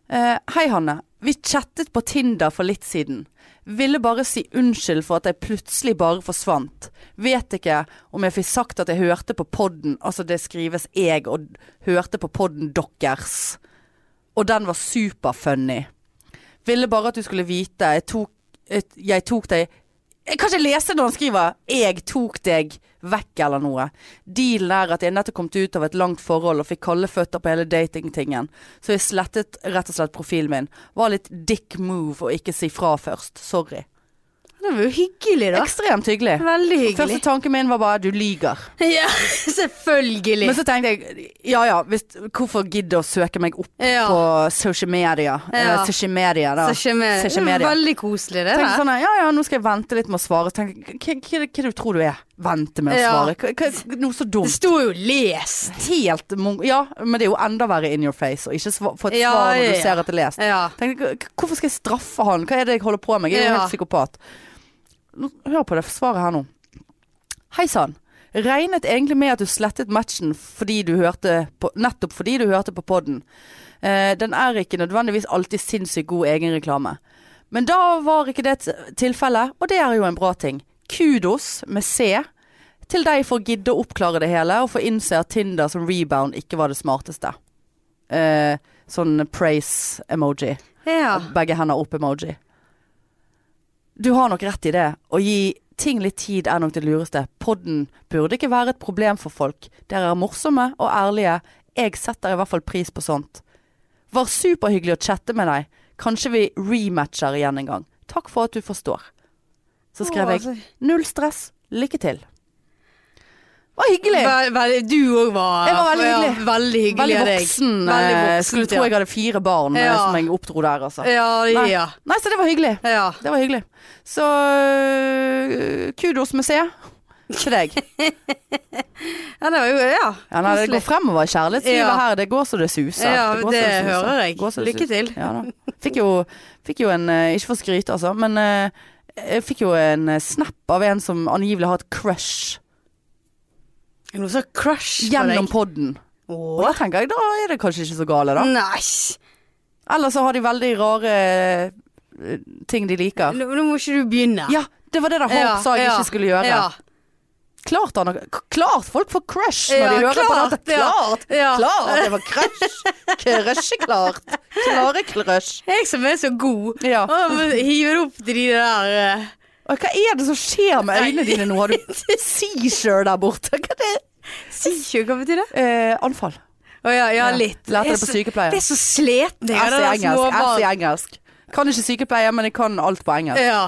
Speaker 1: Eh, hei, Hanne. Vi chattet på Tinder for litt siden. Ville bare si unnskyld for at jeg plutselig bare forsvant. Vet ikke om jeg fikk sagt at jeg hørte på podden Altså, det skrives 'jeg' og d- hørte på podden deres. Og den var superfunny. Ville bare at du skulle vite jeg tok, et, jeg tok deg Jeg kan ikke lese når han skriver 'jeg tok deg vekk' eller noe. Dealen er at jeg nettopp kom ut av et langt forhold og fikk kalde føtter på hele datingtingen. Så jeg slettet rett og slett profilen min. Var litt dick move å ikke si fra først. Sorry.
Speaker 2: Det var jo hyggelig, da.
Speaker 1: Ekstremt hyggelig.
Speaker 2: Veldig hyggelig.
Speaker 1: Første tanken min var bare du lyger.
Speaker 2: Ja, selvfølgelig.
Speaker 1: Men så tenkte jeg ja ja, hvis, hvorfor gidde å søke meg opp
Speaker 2: Ja.
Speaker 1: på social media? Eller
Speaker 2: Ja.
Speaker 1: social media, da.
Speaker 2: Sasha Mer-
Speaker 1: Sasha Media.
Speaker 2: Veldig koselig, det
Speaker 1: Tenkte
Speaker 2: der.
Speaker 1: sånn, ja ja, nå skal jeg vente litt med å svare. Tenkte, hva, hva, hva du tror du er? Vente med å
Speaker 2: Ja.
Speaker 1: svare? Hva, hva, noe så
Speaker 2: Det
Speaker 1: dumt.
Speaker 2: sto jo 'les'.
Speaker 1: Helt mon- Ja, men det er jo enda verre in your face å ikke sva- få et
Speaker 2: Ja,
Speaker 1: svar når
Speaker 2: ja,
Speaker 1: du
Speaker 2: ja.
Speaker 1: ser at det er lest.
Speaker 2: Ja.
Speaker 1: Tenkte, k- hvorfor skal jeg straffe han? Hva er det jeg holder på med? Jeg er jo
Speaker 2: Ja.
Speaker 1: helt psykopat. Nå- Hør på det svaret her nå. Hei sann. Regnet egentlig med at du slettet matchen fordi du hørte på, nettopp fordi du hørte på podden. Eh, den er ikke nødvendigvis alltid sinnssykt god egenreklame. Men da var ikke det et tilfelle, og det er jo en bra ting. Kudos med C til deg for å gidde å oppklare det hele og for å innse at Tinder som rebound ikke var det smarteste. Eh, sånn praise-emoji
Speaker 2: ja.
Speaker 1: begge hender opp-emoji. Du har nok rett i det. Å gi ting litt tid er nok det lureste. Podden burde ikke være et problem for folk. Dere er morsomme og ærlige. Jeg setter i hvert fall pris på sånt. Var superhyggelig å chatte med deg. Kanskje vi rematcher igjen en gang. Takk for at du forstår. Så skrev
Speaker 2: Å,
Speaker 1: jeg
Speaker 2: altså.
Speaker 1: null stress, lykke til. Var hyggelig.
Speaker 2: Ve- ve- du òg var,
Speaker 1: Jeg var veldig
Speaker 2: ja,
Speaker 1: hyggelig.
Speaker 2: veldig hyggelig
Speaker 1: Veldig
Speaker 2: av deg.
Speaker 1: voksen.
Speaker 2: Veldig
Speaker 1: eh,
Speaker 2: voksen,
Speaker 1: Skulle tro jeg hadde fire barn eh,
Speaker 2: Ja.
Speaker 1: som jeg oppdro der, altså.
Speaker 2: Ja, ja.
Speaker 1: Nei.
Speaker 2: ja.
Speaker 1: Nei, så det var hyggelig.
Speaker 2: ja.
Speaker 1: Det var hyggelig. Så øh, kudos museet til deg.
Speaker 2: Ja, det var jo Ja.
Speaker 1: Ja, nei, det går fremover i kjærlighetslivet
Speaker 2: Ja.
Speaker 1: her. Det går så det suser.
Speaker 2: Ja,
Speaker 1: går så
Speaker 2: det
Speaker 1: suser.
Speaker 2: hører jeg.
Speaker 1: Går så det
Speaker 2: Lykke
Speaker 1: suser.
Speaker 2: til.
Speaker 1: Ja, da. Fikk, jo, fikk jo en eh, Ikke for å skryte, altså, men eh, jeg fikk jo en eh, snap av en som angivelig har et crush
Speaker 2: Er det Noe sånn crush på
Speaker 1: gjennom
Speaker 2: deg.
Speaker 1: podden. Og
Speaker 2: Åh. Mm.
Speaker 1: da tenker jeg da er det kanskje ikke så gale, da.
Speaker 2: Nei.
Speaker 1: Eller så har de veldig rare eh, ting de liker.
Speaker 2: Nå, nå må ikke du begynne.
Speaker 1: Ja, det var det der Hope
Speaker 2: Ja,
Speaker 1: sa jeg
Speaker 2: ja,
Speaker 1: ikke skulle gjøre.
Speaker 2: Ja.
Speaker 1: Klart, han, har- klart folk får crush når
Speaker 2: Ja,
Speaker 1: de hører
Speaker 2: klart,
Speaker 1: på dette.
Speaker 2: ja.
Speaker 1: Klart!
Speaker 2: Ja.
Speaker 1: Klart det var crush. Crush er klart. Klare crush.
Speaker 2: Jeg som er så god.
Speaker 1: Ja.
Speaker 2: Å, men Hiver opp til de der eh,
Speaker 1: Og hva er det som skjer med øynene dine nå? Har du seizure der borte? Hva er det?
Speaker 2: Sier ikke hva betyr det?
Speaker 1: Eh, anfall.
Speaker 2: Å ja, ja,
Speaker 1: Ja.
Speaker 2: litt.
Speaker 1: Lærte
Speaker 2: Jeg
Speaker 1: det på
Speaker 2: så-
Speaker 1: sykepleie.
Speaker 2: Det er så sliten jeg
Speaker 1: S i
Speaker 2: er. Det
Speaker 1: engelsk. S i
Speaker 2: småbarn. Eh.
Speaker 1: engelsk. Kan ikke sykepleie, men jeg kan alt på engelsk.
Speaker 2: Ja.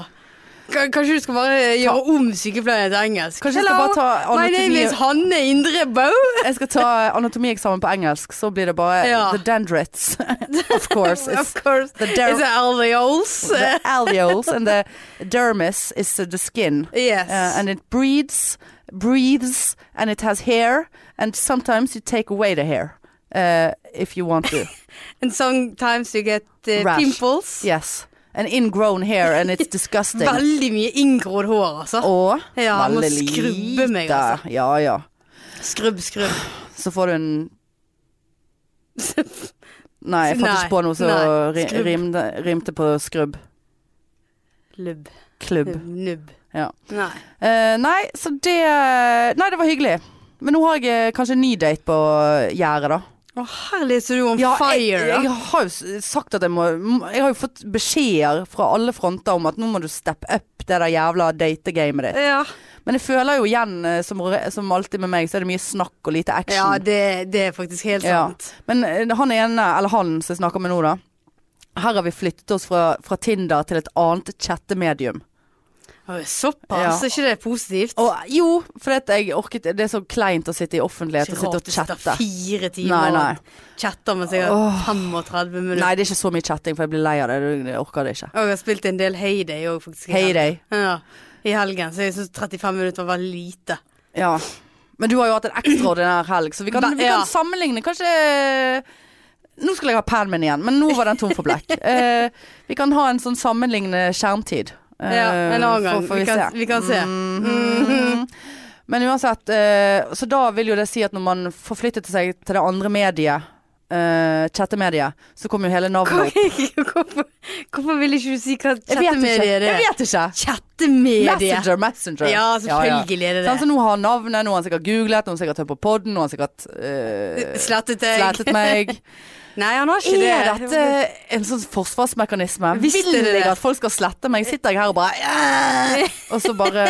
Speaker 2: K- Kanskje du skal bare gjøre om sykepleie til engelsk?
Speaker 1: Kanskje jeg skal bare ta
Speaker 2: My name
Speaker 1: anatomi-
Speaker 2: is Hanne Indrebø.
Speaker 1: Jeg skal ta anatomieksamen på engelsk, så blir det bare
Speaker 2: Ja.
Speaker 1: the dendrites. of course.
Speaker 2: Of
Speaker 1: It's
Speaker 2: course.
Speaker 1: the, der
Speaker 2: It's alveoles.
Speaker 1: the alveoles and the dermis is uh, the skin.
Speaker 2: Yes.
Speaker 1: uh, and it breathes, breathes, and it has hair. And sometimes you take away the hair uh, if you want to.
Speaker 2: And sometimes you get uh,
Speaker 1: Rash.
Speaker 2: pimples.
Speaker 1: yes, an ingrown hair, and it's disgusting.
Speaker 2: Veldig mye inngrodd hår, altså.
Speaker 1: Og
Speaker 2: Ja, jeg må
Speaker 1: veldig
Speaker 2: skrubbe meg,
Speaker 1: lite.
Speaker 2: altså.
Speaker 1: Ja ja.
Speaker 2: Skrubb, skrubb.
Speaker 1: Så får du en Nei, jeg fant
Speaker 2: Nei,
Speaker 1: ikke på noe som
Speaker 2: nei, skrubb.
Speaker 1: rimte, rimte på skrubb.
Speaker 2: Lubb.
Speaker 1: Klubb.
Speaker 2: Nubb. Nubb.
Speaker 1: Ja.
Speaker 2: Nei.
Speaker 1: Eh, nei, så det Nei, det var hyggelig. Men nå har jeg eh, kanskje en ny date på gjerdet, da.
Speaker 2: Å herlighet, så du er on fire.
Speaker 1: jeg,
Speaker 2: da.
Speaker 1: jeg har jo s- sagt at jeg må Jeg har jo fått beskjeder fra alle fronter om at nå må du steppe up det der jævla dategamet ditt.
Speaker 2: ja.
Speaker 1: Men jeg føler jo igjen, eh, som, re- som alltid med meg, så er det mye snakk og lite action.
Speaker 2: ja det, det er faktisk helt
Speaker 1: Ja.
Speaker 2: sant.
Speaker 1: Men eh, han ene, eller han som jeg snakker med nå da Her har vi flyttet oss fra, fra Tinder til et annet chattemedium
Speaker 2: Å, Såpass,
Speaker 1: Ja.
Speaker 2: er ikke det positivt?
Speaker 1: Og jo, for at jeg orket Det er så kleint å sitte i offentlighet og
Speaker 2: Ikke rart du
Speaker 1: sitte og
Speaker 2: sitter
Speaker 1: chatte
Speaker 2: fire
Speaker 1: Nei,
Speaker 2: timer
Speaker 1: nei.
Speaker 2: og chatter med seg
Speaker 1: Åh.
Speaker 2: 35 minutter.
Speaker 1: Nei, det er ikke så mye chatting, for jeg blir lei av det Jeg orker det ikke
Speaker 2: Og jeg har spilt en del Heyday òg, faktisk. i helgen.
Speaker 1: Heyday
Speaker 2: Ja, I helgen, så jeg syns 35 minutter var lite.
Speaker 1: Ja Men du har jo hatt en ekstraordinær helg Så vi kan,
Speaker 2: Da-
Speaker 1: vi
Speaker 2: ja.
Speaker 1: kan sammenligne Kanskje eh, Nå skulle jeg ha pennen min igjen Men nå var den tom for blekk Eh, Vi kan ha en sånn sammenlignende skjermtid Eh,
Speaker 2: Ja, en annen gang.
Speaker 1: får- får
Speaker 2: vi, kan,
Speaker 1: se. Mm.
Speaker 2: vi kan se.
Speaker 1: Mhm. Men uansett, eh, så da vil jo det si at når man forflyttet seg til det andre mediet, eh, chattemediet, så kom jo hele navnet opp.
Speaker 2: Hvorfor, hvorfor vil ikke du si hva
Speaker 1: Jeg vet ikke.
Speaker 2: chattemedie det
Speaker 1: Jeg
Speaker 2: er?
Speaker 1: vet ikke.
Speaker 2: Chattemedie!
Speaker 1: Messenger, Messenger.
Speaker 2: Ja, selvfølgelig er det
Speaker 1: Sånn,
Speaker 2: det.
Speaker 1: så nå har han navnet, nå har han sikkert googlet, nå har han sikkert hørt på podden, nå har han sikkert eh,
Speaker 2: Slettet deg.
Speaker 1: slettet meg.
Speaker 2: Nei, han har ikke
Speaker 1: Er
Speaker 2: det.
Speaker 1: dette en sånn forsvarsmekanisme?
Speaker 2: Visst er
Speaker 1: Vil
Speaker 2: det
Speaker 1: jeg
Speaker 2: det.
Speaker 1: at folk skal slette meg? Sitter jeg her og bare "Ja." Og så bare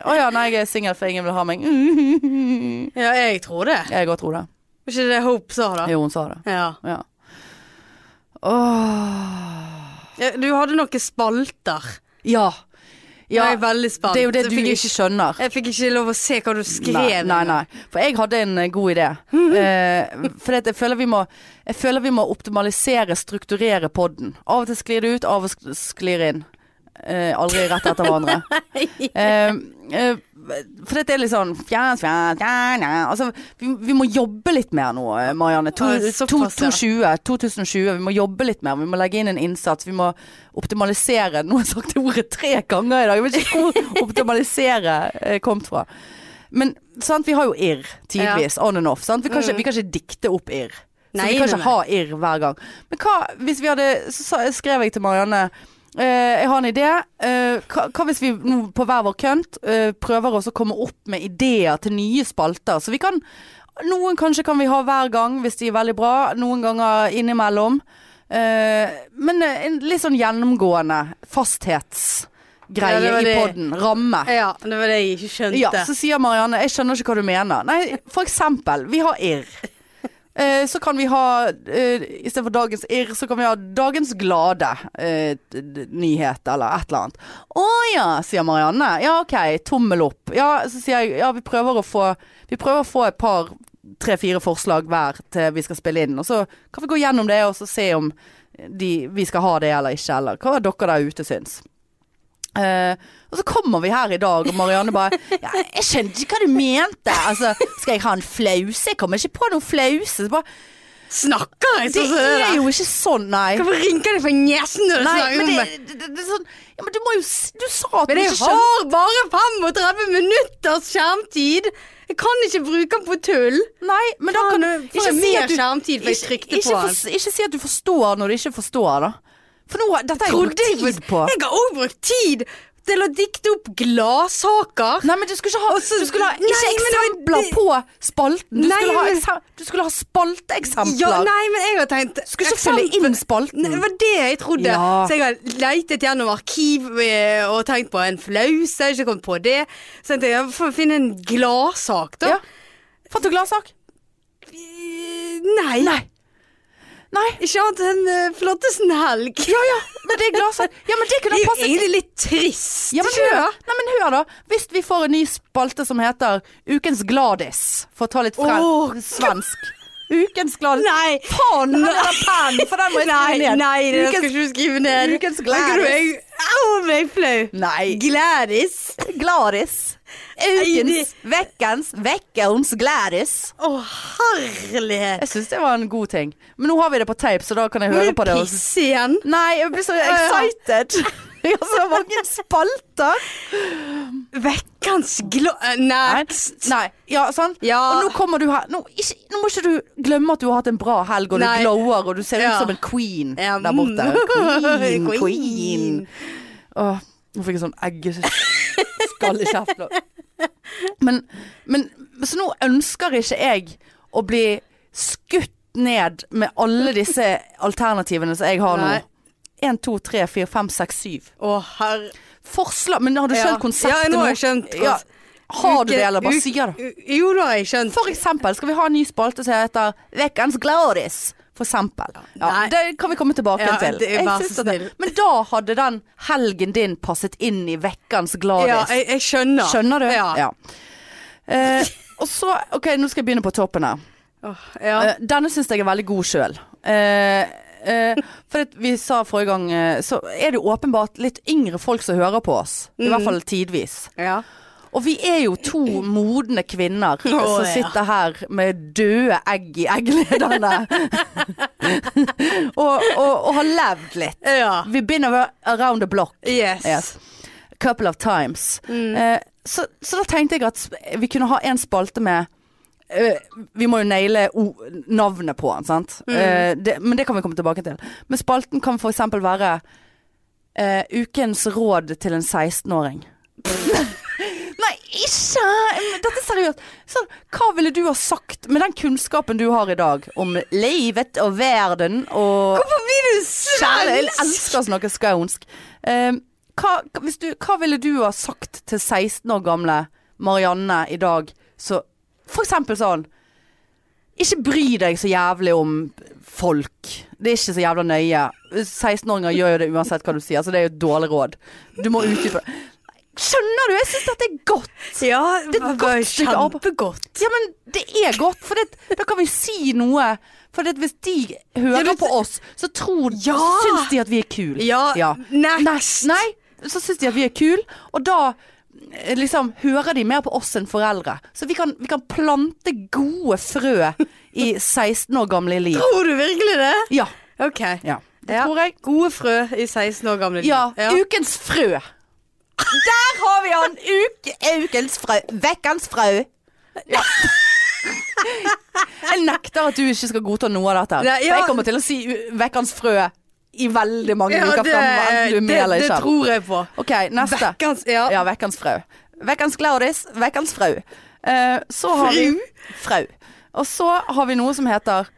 Speaker 1: Å ja, nei, jeg er singel for ingen vil ha meg. Mhm.
Speaker 2: Ja, jeg tror det.
Speaker 1: Jeg òg tror det.
Speaker 2: Var ikke det Hope sa, da?
Speaker 1: Jo, hun sa det.
Speaker 2: Ja.
Speaker 1: Ja. Åh.
Speaker 2: Ja, Eh, Du hadde noen spalter.
Speaker 1: Ja.
Speaker 2: Ja,
Speaker 1: ja.
Speaker 2: jeg er veldig spent.
Speaker 1: Det er jo det
Speaker 2: Jeg
Speaker 1: du
Speaker 2: fikk
Speaker 1: ikke skjønner.
Speaker 2: Jeg fikk ikke lov å se hva du
Speaker 1: Nei,
Speaker 2: skrev.
Speaker 1: nei, nei. For jeg hadde en eh, god idé. Eh, for jeg føler, vi må, jeg føler vi må optimalisere, strukturere podden. Av og til sklir det ut, av og til sklir det inn. Eh, aldri rett etter hverandre. Eh, eh, for dette er litt sånn fjas, fjas, fjas, fjas. altså, vi, vi må jobbe litt mer nå, eh, Marianne. To,
Speaker 2: Ja, såpass,
Speaker 1: to,
Speaker 2: ja.
Speaker 1: 2020, 2020. Vi må jobbe litt mer. Vi må legge inn en innsats. Vi må optimalisere. Nå har jeg sagt det ordet tre ganger i dag. Jeg vet ikke hvor optimalisere eh, kom fra. Men sant, vi har jo irr tidvis, on and off. Sant? Vi, kan ikke, vi kan ikke dikte opp irr. Så
Speaker 2: Mm. Nei,
Speaker 1: vi kan
Speaker 2: nei,
Speaker 1: ikke
Speaker 2: nei.
Speaker 1: ha irr hver gang. Men hva hvis vi hadde Så sa- skrev jeg til Marianne eh, jeg har en idé. Eh, hva, hva hvis vi nå på hver vår kønt eh, prøver oss å komme opp med ideer til nye spalter? Så vi kan Noen kanskje kan vi ha hver gang hvis de er veldig bra. Noen ganger innimellom. Eh, men eh, en litt sånn gjennomgående
Speaker 2: Ja,
Speaker 1: fasthetsgreie
Speaker 2: det var
Speaker 1: i
Speaker 2: det.
Speaker 1: podden. Ramme.
Speaker 2: Ja, det var det jeg ikke skjønte.
Speaker 1: Ja, så sier Marianne Jeg skjønner ikke hva du mener Nei, for eksempel, vi har irr Eh, så kan vi ha, eh, i stedet for dagens irr, så kan vi ha dagens glade eh, d- d- nyhet, eller et eller annet. Å ja, sier Marianne. Ja, ok, tommel opp. Ja, så sier jeg, ja, vi prøver å få, vi prøver å få et par, tre-fire forslag hver til vi skal spille inn, og så kan vi gå gjennom det, og så se om de, vi skal ha det eller ikke, eller hva dere der ute syns. Eh, og så kommer vi her i dag, og Marianne bare ja, 'Jeg skjønte ikke hva du mente.' Altså, 'Skal jeg ha en flause?' Jeg kommer ikke på noen flause. Så bare,
Speaker 2: Snakker jeg
Speaker 1: det
Speaker 2: sånn som det
Speaker 1: er
Speaker 2: der?
Speaker 1: jo ikke sånn, nei.
Speaker 2: Hvorfor rynker det på nesen når du
Speaker 1: nei
Speaker 2: snakker
Speaker 1: men
Speaker 2: om
Speaker 1: det,
Speaker 2: meg?
Speaker 1: det, det, det er sånn ja, Men du må jo s- Du sa at du
Speaker 2: Men jeg
Speaker 1: ikke skjønte
Speaker 2: har bare 35 minutters skjermtid! Jeg kan ikke bruke den på tull.
Speaker 1: Nei, men da kan du
Speaker 2: Faen,
Speaker 1: ikke
Speaker 2: får
Speaker 1: si
Speaker 2: jeg mer
Speaker 1: at du
Speaker 2: skjermtid, for jeg trykte
Speaker 1: ikke,
Speaker 2: på
Speaker 1: for-
Speaker 2: den.
Speaker 1: ikke si at du forstår når du ikke forstår, da. For nå Dette har jeg brukt tid på.
Speaker 2: Jeg har også brukt tid til å dikte opp gladsaker.
Speaker 1: Nei, men du skulle ikke ha, du skulle ha ikke
Speaker 2: Nei, men det var-
Speaker 1: eksempler på spalten. Du,
Speaker 2: Nei,
Speaker 1: skulle ha,
Speaker 2: men-
Speaker 1: eksem- du skulle ha spalteeksempler.
Speaker 2: Ja, nei, men jeg har tenkt
Speaker 1: Skulle ikke følge inn spalten.
Speaker 2: Nei, Det var det jeg trodde.
Speaker 1: Ja.
Speaker 2: Så jeg har leitet gjennom arkiv eh, og tenkt på en flause. Jeg har ikke kommet på det. Så tenkte jeg får finne en gladsak, da.
Speaker 1: Ja. Fant du gladsak?
Speaker 2: Eh, Nei.
Speaker 1: Nei.
Speaker 2: Ikke annet enn eh, Flottesen helg.
Speaker 1: Ja ja, men det er gladsak. Ja, men det
Speaker 2: Det
Speaker 1: kunne
Speaker 2: er
Speaker 1: ha
Speaker 2: jo
Speaker 1: passet.
Speaker 2: egentlig litt trist.
Speaker 1: Ja, men
Speaker 2: ikke
Speaker 1: hør,
Speaker 2: det?
Speaker 1: nei, men hør da. Hvis vi får en ny spalte som heter Ukens Gladis, for å ta litt fra
Speaker 2: Åh,
Speaker 1: svensk. Ukens Gladis.
Speaker 2: Nei.
Speaker 1: Faen, her er det penn, for den må jeg
Speaker 2: Nei,
Speaker 1: skrive ned.
Speaker 2: nei, det
Speaker 1: Ukens-
Speaker 2: skal ikke du skrive ned.
Speaker 1: Ukens
Speaker 2: Da kan du-
Speaker 1: Gladis.
Speaker 2: jeg- Au, men jeg er flau.
Speaker 1: Nei.
Speaker 2: Gladis.
Speaker 1: Gladis. Ukens,
Speaker 2: det-
Speaker 1: vekkens, vekkens Gladis.
Speaker 2: Å, herlighet.
Speaker 1: Jeg syns det var en god ting. Men nå har vi det på tape, så da kan jeg høre
Speaker 2: Må du
Speaker 1: på det. og-
Speaker 2: pisse igjen?
Speaker 1: Nei, jeg blir så excited. Jeg har så mange spalter.
Speaker 2: Vekkens glad... eh, Next.
Speaker 1: Nei. Ja, sånn.
Speaker 2: Ja.
Speaker 1: Og nå kommer du her nå, ikke, nå må ikke du glemme at du har hatt en bra helg, og du
Speaker 2: Nei.
Speaker 1: glower, og du ser
Speaker 2: Ja.
Speaker 1: ut som en queen
Speaker 2: Ja,
Speaker 1: der borte.
Speaker 2: mm.
Speaker 1: Queen,
Speaker 2: Queen.
Speaker 1: queen. Åh, nå fikk jeg sånn eggeskall i kjeften. Men, men så nå ønsker ikke jeg å bli skutt ned med alle disse alternativene som jeg har nå.
Speaker 2: Nei.
Speaker 1: 1, 2, 3, 4, 5, 6, 7.
Speaker 2: Å, herre...
Speaker 1: Forslag Men har du skjønt konseptet
Speaker 2: Ja, nå har jeg
Speaker 1: nå?
Speaker 2: skjønt
Speaker 1: Ja.
Speaker 2: konseptet.
Speaker 1: Har du det,
Speaker 2: Uke-
Speaker 1: eller bare
Speaker 2: uke-
Speaker 1: sier det?
Speaker 2: u- Jo, nå har jeg skjønt.
Speaker 1: For eksempel skal vi ha en ny spalte som heter Vekkens Glories. For eksempel. Ja,
Speaker 2: Nei.
Speaker 1: det kan vi komme tilbake
Speaker 2: Ja,
Speaker 1: til.
Speaker 2: det-
Speaker 1: Jeg
Speaker 2: vær så
Speaker 1: syns at det-
Speaker 2: snill.
Speaker 1: Men da hadde den helgen din passet inn i Vekkens Glories.
Speaker 2: Ja, jeg, jeg skjønner.
Speaker 1: Skjønner du?
Speaker 2: Ja.
Speaker 1: Ja. Eh, og så, ok, nå skal jeg begynne på toppen her.
Speaker 2: Åh, ja.
Speaker 1: Eh, denne syns jeg er veldig god sjøl. Eh, eh, for at vi sa forrige gang, eh, så er det jo åpenbart litt yngre folk som hører på oss.
Speaker 2: Mm.
Speaker 1: I hvert fall tidvis.
Speaker 2: ja.
Speaker 1: Og vi er jo to modne kvinner som
Speaker 2: ja.
Speaker 1: sitter her med døde egg i egglederne. og, og, og har levd litt.
Speaker 2: ja.
Speaker 1: Vi begynner around the block
Speaker 2: Yes.
Speaker 1: Yes. couple of times. Eh, så, så da tenkte jeg at sp- vi kunne ha en spalte med eh, Vi må jo naile o- navnet på den, sant. Eh, det, men det kan vi komme tilbake til. Men spalten kan f.eks. være eh, Ukens råd til en 16-åring. Nei, ikke! Men Dette er seriøst. Så, hva ville du ha sagt med den kunnskapen du har i dag om livet og verden og
Speaker 2: Hvorfor blir du
Speaker 1: Kjære, jeg
Speaker 2: svensk?
Speaker 1: elsker å snakke skaunsk. Ehm, hva, hvis du, hva ville du ha sagt til 16 år gamle Marianne i dag? Så, for eksempel sånn Ikke bry deg så jævlig om folk. Det er ikke så jævla nøye. 16-åringer gjør jo det uansett hva du sier, så det er jo et dårlig råd. Du må utdype det. Skjønner du? Jeg syns dette er godt.
Speaker 2: Ja, det
Speaker 1: et
Speaker 2: var
Speaker 1: godt stykke arbeid.
Speaker 2: kjempegodt.
Speaker 1: Ja, men det er godt, for det, da kan vi si noe. For det, hvis de hører
Speaker 2: Ja, du-
Speaker 1: på oss, så tror
Speaker 2: Ja!
Speaker 1: Syns de at vi er kule.
Speaker 2: Ja, next.
Speaker 1: Nei, nei, så syns de at vi er kule, og da eh, liksom hører de mer på oss enn foreldre. Så vi kan, vi kan plante gode frø i 16 år gamle liv.
Speaker 2: Tror du virkelig det?
Speaker 1: Ja.
Speaker 2: Ok.
Speaker 1: ja. Det
Speaker 2: Ja.
Speaker 1: tror jeg.
Speaker 2: Gode frø i 16 år gamle liv.
Speaker 1: Ja, ukens frø. Der har vi han! Uke, ukens frø. Vekkens frø. Ja. Jeg nekter at du ikke skal godta noe av dette.
Speaker 2: Nei, ja.
Speaker 1: For jeg kommer til å si u- vekkens frø i veldig mange
Speaker 2: Ja,
Speaker 1: uker
Speaker 2: det,
Speaker 1: fremover. Enten du er med
Speaker 2: det,
Speaker 1: eller
Speaker 2: det
Speaker 1: ikke.
Speaker 2: tror jeg på.
Speaker 1: Ok, neste.
Speaker 2: Vekkans, ja.
Speaker 1: Ja, vekkens frø. Vekkens Gladis, vekkens frø. Eh, så har vi Frau. Og så har vi noe som heter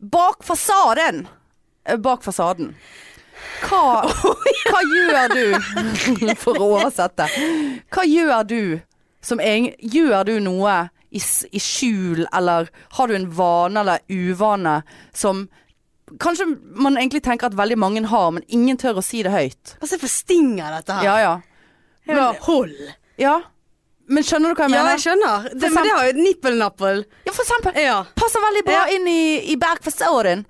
Speaker 1: Bak fasaden. Eh, Bak fasaden. Hva, hva gjør du For å oversette. Hva gjør du som egen, Gjør du noe i, s- i skjul, eller har du en vane eller uvane som Kanskje man egentlig tenker at veldig mange har, men ingen tør å si det høyt.
Speaker 2: Altså, jeg forstinger dette her.
Speaker 1: Ja, ja.
Speaker 2: Ja, Hold.
Speaker 1: Ja. Men skjønner du hva jeg
Speaker 2: Ja,
Speaker 1: mener?
Speaker 2: jeg skjønner. Det, men det har jo nippelnappel.
Speaker 1: Ja, for eksempel.
Speaker 2: Ja.
Speaker 1: Passer veldig bra
Speaker 2: Eh, Ja.
Speaker 1: inn i, i bergfasåren.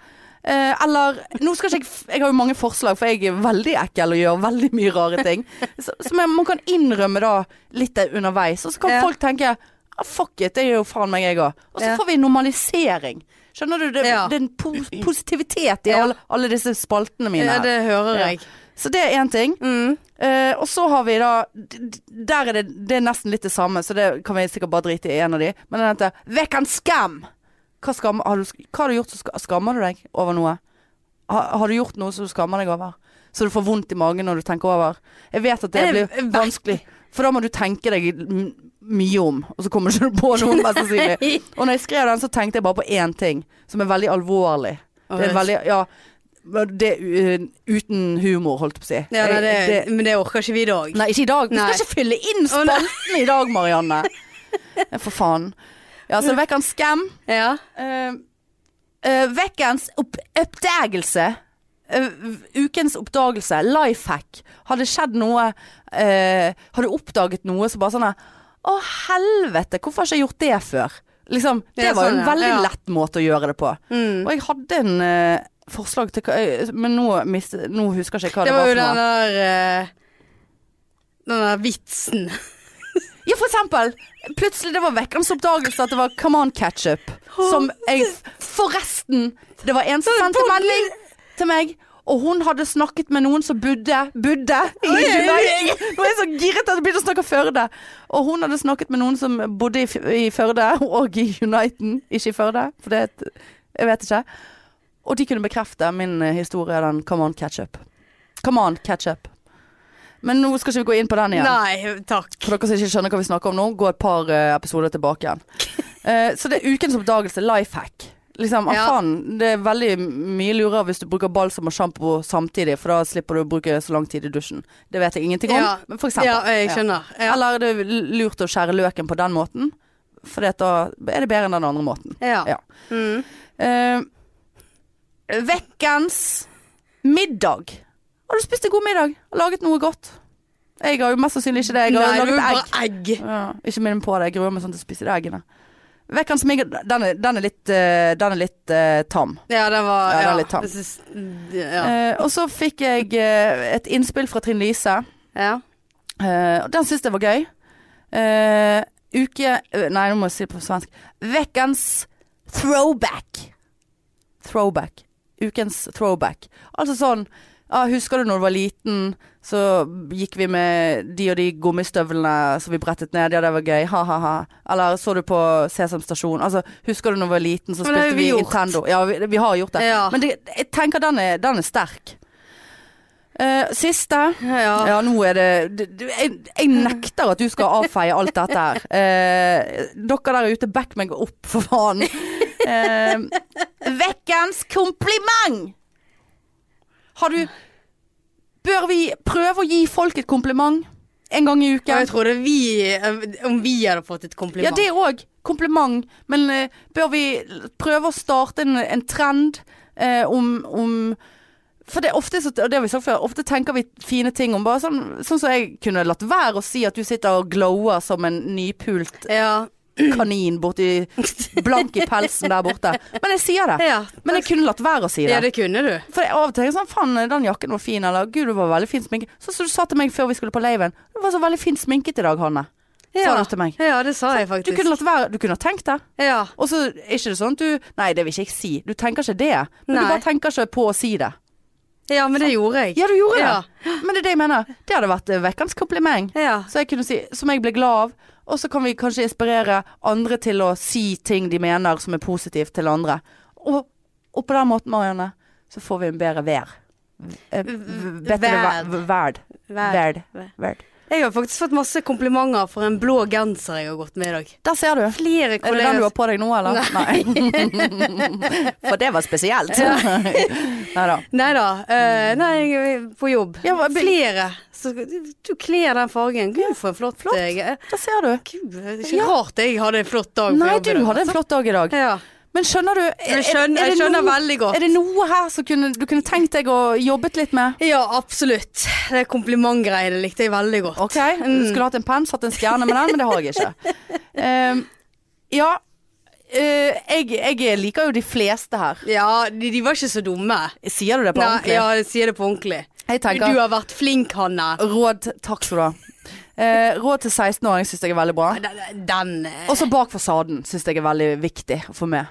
Speaker 1: Eh, eller Nå skal ikke jeg f- Jeg har jo mange forslag, for jeg er veldig ekkel og gjør veldig mye rare ting. Så- Som jeg- man kan innrømme da litt der underveis. Og så kan
Speaker 2: Ja.
Speaker 1: folk tenke ah, Fuck it, det er jo faen meg jeg òg. Og så
Speaker 2: Ja.
Speaker 1: får vi normalisering. Skjønner du? Det,
Speaker 2: Ja.
Speaker 1: det er en po positivitet i
Speaker 2: Ja.
Speaker 1: alle, alle disse spaltene mine.
Speaker 2: Ja,
Speaker 1: her.
Speaker 2: det hører
Speaker 1: Ja.
Speaker 2: jeg.
Speaker 1: Så det er én ting. Eh, og så har vi da d- d- Der er det, det er nesten litt det samme, så det kan vi sikkert bare drite i en av de. Men den heter 'Vekkens skam'. Hva, skam har du, sk- hva har du gjort som ska- skammer du deg over noe? Har, har du gjort noe som du skammer deg over? Så du får vondt i magen når du tenker over? Jeg vet at det
Speaker 2: Er det
Speaker 1: blir vanskelig, for da må du tenke deg m- mye om, og så kommer du ikke på noe, mest sannsynlig. Og når jeg skrev den, så tenkte jeg bare på én ting, som er veldig alvorlig. Det er
Speaker 2: Åh,
Speaker 1: veldig Ja. Det, er, uh, uten humor, holdt jeg på å si.
Speaker 2: Ja, nei, det,
Speaker 1: Jeg-
Speaker 2: men det orker ikke vi i dag.
Speaker 1: Nei, ikke i dag. Vi
Speaker 2: Nei.
Speaker 1: skal ikke fylle inn spalten i dag, Marianne. Ja, For faen. Ja, så vekkens skam.
Speaker 2: Ja.
Speaker 1: eh, eh, vekkens opp oppdagelse. Eh, ukens oppdagelse. Life hack. Har det skjedd noe eh, Har du oppdaget noe som bare sånn her, Å, helvete, hvorfor har ikke jeg gjort det før? Liksom, det
Speaker 2: Ja,
Speaker 1: var jo
Speaker 2: sånn,
Speaker 1: en
Speaker 2: ja.
Speaker 1: veldig
Speaker 2: Ja.
Speaker 1: lett måte å gjøre det på.
Speaker 2: Mm.
Speaker 1: Og jeg hadde en eh, forslag til hva eh, Men nå, miste, nå husker jeg ikke hva
Speaker 2: Det
Speaker 1: det,
Speaker 2: var jo
Speaker 1: for noe.
Speaker 2: den der eh, Den der vitsen.
Speaker 1: Ja, for eksempel. Plutselig det var vekkens oppdagelse at det var Come on ketchup. Som jeg Forresten! Det var en som sendte melding til meg, og hun hadde snakket med noen som bodde Budde i
Speaker 2: Oi, oi,
Speaker 1: Nei, Nå er jeg så giret at jeg begynner å snakke Førde. Og hun hadde snakket med noen som bodde i, F- i Førde, og i Uniten. Ikke i Førde, for det er et Jeg vet ikke. Og de kunne bekrefte min eh, historie, den Come on ketchup. Come on ketchup. Men nå skal ikke vi gå inn på den igjen.
Speaker 2: Nei, takk.
Speaker 1: For dere som ikke skjønner hva vi snakker om nå, gå et par eh, episoder tilbake igjen. Eh, så det er ukens oppdagelse, life hack. Liksom, ah,
Speaker 2: Ja.
Speaker 1: faen, det er veldig mye lurere hvis du bruker balsam og sjampo samtidig, for da slipper du å bruke så lang tid i dusjen. Det vet jeg ingenting om,
Speaker 2: Ja.
Speaker 1: men for eksempel.
Speaker 2: Ja, jeg skjønner. Ja.
Speaker 1: Eller er det lurt å skjære løken på den måten? For da er det bedre enn den andre måten.
Speaker 2: Ja.
Speaker 1: Ja.
Speaker 2: Mm.
Speaker 1: Eh, vekkens middag. Har du spist en god middag? Har Laget noe godt? Jeg har jo mest sannsynlig ikke det. Jeg har
Speaker 2: Nei, det
Speaker 1: laget
Speaker 2: var
Speaker 1: egg.
Speaker 2: bare egg.
Speaker 1: Ja, ikke minn på det. Jeg gruer meg sånn til å spise de eggene. Vekkens middag, den er, den er litt, eh, den er litt eh, tam.
Speaker 2: Ja, den var
Speaker 1: Ja, den
Speaker 2: ja,
Speaker 1: er litt tam.
Speaker 2: jeg synes- ja.
Speaker 1: Eh, og så fikk jeg eh, et innspill fra Trine Lise.
Speaker 2: ja.
Speaker 1: Eh, og den syns jeg var gøy. Eh, uke eh, Nei, nå må jeg si det på svensk. Vekkens throwback. Throwback. Ukens throwback. Altså sånn ja, Husker du når du var liten, så gikk vi med de og de gummistøvlene som vi brettet ned. Ja, det var gøy. Ha-ha-ha. Eller så du på Sesam stasjon. Altså, husker du når du var liten, så
Speaker 2: Men det har
Speaker 1: spilte
Speaker 2: vi
Speaker 1: vi
Speaker 2: gjort.
Speaker 1: Nintendo. Ja, vi, vi har gjort det.
Speaker 2: Ja.
Speaker 1: Men det, jeg tenker den er, den er sterk. Eh, siste.
Speaker 2: Ja.
Speaker 1: Ja, nå er det du- du- Jeg, jeg nekter at du skal avfeie alt dette her. Eh, dere der ute, back meg opp, for faen. Eh, vekkens kompliment! Har du Bør vi prøve å gi folk et kompliment en gang i
Speaker 2: Ja,
Speaker 1: uken?
Speaker 2: Jeg trodde vi eh, Om vi hadde fått et kompliment.
Speaker 1: Ja, det òg. Kompliment. Men eh, bør vi l- prøve å starte en, en trend eh, om, om For det er ofte, så, og det har vi sagt før, ofte tenker vi fine ting om bare sånn Sånn som jeg kunne latt være å si at du sitter og glower som en nypult
Speaker 2: Ja.
Speaker 1: kanin borti Blank i pelsen der borte. Men jeg sier det.
Speaker 2: Ja.
Speaker 1: Men jeg kunne latt være å si
Speaker 2: ja,
Speaker 1: det.
Speaker 2: det kunne du.
Speaker 1: For jeg av og til tenker jeg sånn Faen, den jakken var fin, eller Gud, du var veldig fin sminket. Sånn som du sa til meg før vi skulle på laven. Du var så veldig fin sminket i dag, Hanne.
Speaker 2: Ja.
Speaker 1: Sa du til meg.
Speaker 2: Ja, det sa jeg
Speaker 1: Du
Speaker 2: faktisk.
Speaker 1: kunne latt være. Du kunne ha tenkt det.
Speaker 2: Ja.
Speaker 1: Og så er ikke det sånn at du Nei, det vil ikke jeg si. Du tenker ikke det. Men
Speaker 2: Nei.
Speaker 1: du bare tenker ikke på å si det.
Speaker 2: ja, men det gjorde jeg.
Speaker 1: Ja, du gjorde
Speaker 2: Ja.
Speaker 1: det. Men det er det jeg mener. Det hadde vært eh, vekkens kompliment.
Speaker 2: Ja.
Speaker 1: Så jeg kunne si, som jeg ble glad av. Og så kan vi kanskje inspirere andre til å si ting de mener som er positivt til andre. Og, og på den måten, Marianne, så får vi en bedre vær. Eh, v- Bedre
Speaker 2: verd.
Speaker 1: vær- verd.
Speaker 2: Vær-
Speaker 1: Verd.
Speaker 2: vær.
Speaker 1: Verd.
Speaker 2: Jeg har faktisk fått masse komplimenter for en blå genser jeg har gått med i dag.
Speaker 1: Der ser du.
Speaker 2: Flere
Speaker 1: Er det den du
Speaker 2: kolleger
Speaker 1: har på deg nå, eller? Nei. For det var spesielt. Nei da.
Speaker 2: Nei da. eh, nei, jeg er på jobb.
Speaker 1: Mm. Ja, hva-
Speaker 2: Flere. Så du kler den fargen. Gud, for en flott, flott. Jeg,
Speaker 1: Der ser du.
Speaker 2: Gud, det er ikke rart jeg hadde en flott dag. på
Speaker 1: Nei,
Speaker 2: jobb i
Speaker 1: du
Speaker 2: dag,
Speaker 1: hadde en
Speaker 2: altså.
Speaker 1: flott dag i dag.
Speaker 2: Ja.
Speaker 1: Men skjønner du
Speaker 2: Men Jeg skjønner, jeg skjønner veldig godt.
Speaker 1: Er det noe her som kunne, du kunne tenkt deg å jobbet litt med?
Speaker 2: Ja, absolutt. Det komplimentgreiene likte jeg veldig godt.
Speaker 1: Ok,
Speaker 2: Mm.
Speaker 1: du skulle hatt en penn, satt en stjerne med den, men det har jeg ikke. Ehm, ja, eh, jeg, jeg liker jo de fleste her.
Speaker 2: Ja, de, de var ikke så dumme.
Speaker 1: Sier du det på
Speaker 2: Nei,
Speaker 1: ordentlig?
Speaker 2: ja, jeg sier det på ordentlig.
Speaker 1: Jeg
Speaker 2: Du
Speaker 1: tenker
Speaker 2: har vært flink, Hanne.
Speaker 1: råd, takk skal du ha. Eh, råd til 16-åring syns jeg er veldig bra.
Speaker 2: Den, den eh,
Speaker 1: Også bak fasaden syns jeg er veldig viktig for meg.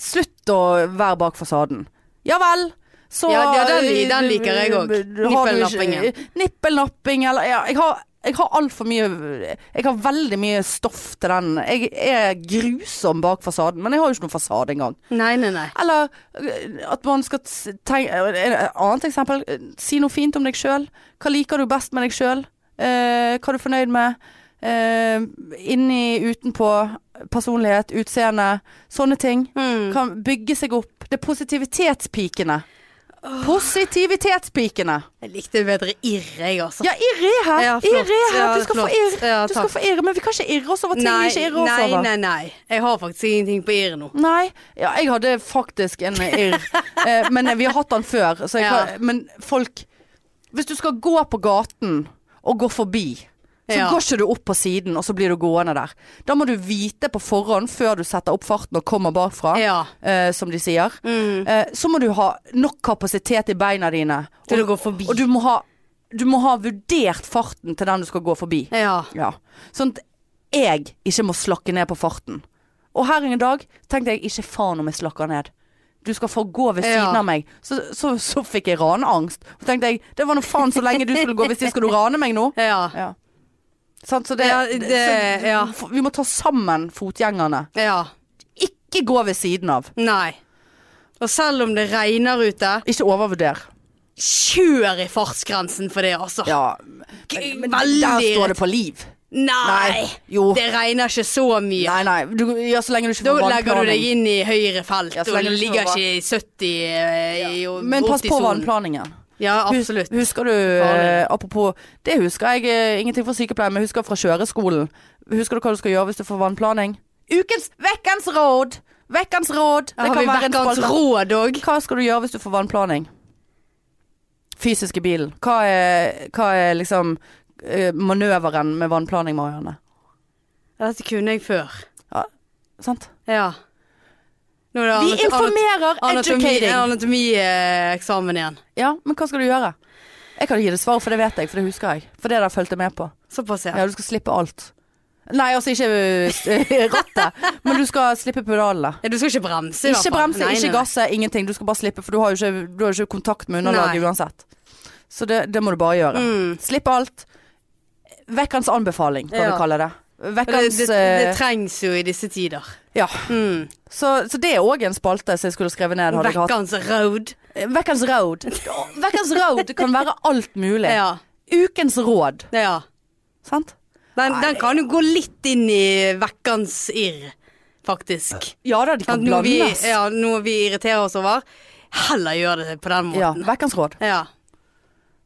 Speaker 1: Slutt å være bak fasaden. Ja vel, så eh,
Speaker 2: Ja, ja, den li- den liker jeg
Speaker 1: Har
Speaker 2: òg.
Speaker 1: du ikke-
Speaker 2: Nippelnappingen.
Speaker 1: Nippelnapping eller ja, Jeg har, jeg har altfor mye Jeg har veldig mye stoff til den. Jeg er grusom bak fasaden, men jeg har jo ikke noen fasade engang.
Speaker 2: Nei, nei, nei.
Speaker 1: Eller øh, at man skal s- tenke Et annet eksempel. øh, Si noe fint om deg sjøl. Hva liker du best med deg sjøl? hva er du fornøyd med? Eh, inni, utenpå. Personlighet, utseende. Sånne ting.
Speaker 2: Mm.
Speaker 1: Kan bygge seg opp. Det er positivitetspikene. Positivitetspikene!
Speaker 2: Jeg likte bedre irr, jeg, altså.
Speaker 1: Ja, irr er her!
Speaker 2: Ja, flott.
Speaker 1: irr er her!
Speaker 2: Ja,
Speaker 1: Du skal få
Speaker 2: flott.
Speaker 1: irr.
Speaker 2: Ja,
Speaker 1: du skal
Speaker 2: takk.
Speaker 1: få irr. Men vi kan ikke irre oss over ting vi ikke irrer oss
Speaker 2: nei,
Speaker 1: over.
Speaker 2: nei, nei. Jeg har faktisk ingenting på irr nå.
Speaker 1: Nei, ja, jeg hadde faktisk en irr. eh, men vi har hatt den før. Så jeg
Speaker 2: Ja.
Speaker 1: kan, men folk Hvis du skal gå på gaten og gå forbi, så
Speaker 2: Ja.
Speaker 1: går ikke du opp på siden, og så blir du gående der. Da må du vite på forhånd, før du setter opp farten og kommer bakfra,
Speaker 2: Ja. Mm.
Speaker 1: eh, som de sier. Eh, så må du ha nok kapasitet i beina dine.
Speaker 2: Til
Speaker 1: Og,
Speaker 2: å gå forbi.
Speaker 1: og du, må ha, du må ha vurdert farten til den du skal gå forbi.
Speaker 2: Ja.
Speaker 1: Ja. Sånn at jeg ikke må slakke ned på farten. Og her en dag tenkte jeg ikke faen om jeg slakker ned. Du skal få gå ved
Speaker 2: Ja.
Speaker 1: siden av meg. Så, så, så fikk jeg ranangst. Og tenkte jeg, det var nå faen så lenge du skulle gå ved siden, skal du rane meg nå?
Speaker 2: Ja.
Speaker 1: Ja. Sant, så det,
Speaker 2: Ja, det-
Speaker 1: så,
Speaker 2: ja.
Speaker 1: f- Vi må ta sammen fotgjengerne.
Speaker 2: ja.
Speaker 1: Ikke gå ved siden av.
Speaker 2: Nei. Og selv om det regner ute,
Speaker 1: Ikke overvurder.
Speaker 2: kjør i fartsgrensen for det, altså.
Speaker 1: Ja.
Speaker 2: G-
Speaker 1: Men, men
Speaker 2: veldig
Speaker 1: der står
Speaker 2: irrit-
Speaker 1: det på liv.
Speaker 2: Nei!
Speaker 1: Jo.
Speaker 2: Det regner ikke så mye.
Speaker 1: Nei, nei. Du, ja, så lenge du ikke
Speaker 2: Da
Speaker 1: får
Speaker 2: legger du deg
Speaker 1: vannplaning.
Speaker 2: inn i høyre felt,
Speaker 1: Ja, så
Speaker 2: og
Speaker 1: lenge
Speaker 2: du
Speaker 1: du
Speaker 2: ligger
Speaker 1: sover.
Speaker 2: ikke i 70 eh, i, og
Speaker 1: Men pass
Speaker 2: 80
Speaker 1: på
Speaker 2: sonen.
Speaker 1: vannplaningen.
Speaker 2: Ja,
Speaker 1: Hus-
Speaker 2: absolutt.
Speaker 1: Husker du, eh, apropos Det husker jeg, eh, ingenting fra sykepleien, men husker fra kjøreskolen. Husker du hva du skal gjøre hvis du får vannplaning? Ukens vekkens råd! Vekkens råd!
Speaker 2: Det har vi vekkans
Speaker 1: spalte.
Speaker 2: råd òg.
Speaker 1: Hva skal du gjøre hvis du får vannplaning? Fysisk i bilen. Hva er, hva er liksom eh, manøveren med vannplaning, Marianne?
Speaker 2: Dette kunne jeg før.
Speaker 1: Sant?
Speaker 2: Ja. Nå er det
Speaker 1: Vi
Speaker 2: anat-
Speaker 1: informerer!
Speaker 2: anat- anatomi- eh,
Speaker 1: Educating!
Speaker 2: Anatomieksamen igjen.
Speaker 1: Ja, men hva skal du gjøre? Jeg kan gi deg svar, for det vet jeg, for det husker jeg. For det der fulgte jeg med på.
Speaker 2: Såpass, ja.
Speaker 1: Ja, du skal slippe alt. Nei, altså ikke øh, rattet, men du skal slippe pedalene.
Speaker 2: Ja, Du skal ikke bremse, i hvert
Speaker 1: Ikke
Speaker 2: fall.
Speaker 1: bremse,
Speaker 2: Nei,
Speaker 1: ikke
Speaker 2: nei, nei.
Speaker 1: gasse, ingenting. Du skal bare slippe, for du har jo ikke, du har jo ikke kontakt med underlaget
Speaker 2: Nei.
Speaker 1: uansett. Så det, det må du bare gjøre.
Speaker 2: Mm.
Speaker 1: Slipp alt. Vekkerens anbefaling, kan
Speaker 2: Ja.
Speaker 1: vi kalle det.
Speaker 2: Det,
Speaker 1: Vekkerens
Speaker 2: det, det
Speaker 1: eh,
Speaker 2: trengs jo i disse tider.
Speaker 1: Ja.
Speaker 2: Mm.
Speaker 1: Så, så det er òg en spalte som jeg skulle skrevet ned. Hadde jeg hatt.
Speaker 2: Vekkans råd.
Speaker 1: Vekkerens råd. Vekkerens råd kan være alt mulig.
Speaker 2: Ja.
Speaker 1: Ukens råd.
Speaker 2: ja.
Speaker 1: Sant?
Speaker 2: Den,
Speaker 1: Nei.
Speaker 2: den kan jo gå litt inn i vekkans irr, faktisk.
Speaker 1: Ja da, de
Speaker 2: At
Speaker 1: kan
Speaker 2: noe vi,
Speaker 1: blandes.
Speaker 2: ja, noe vi irriterer oss over. Heller gjør det på den
Speaker 1: ja.
Speaker 2: måten.
Speaker 1: Vekkerens råd.
Speaker 2: Ja.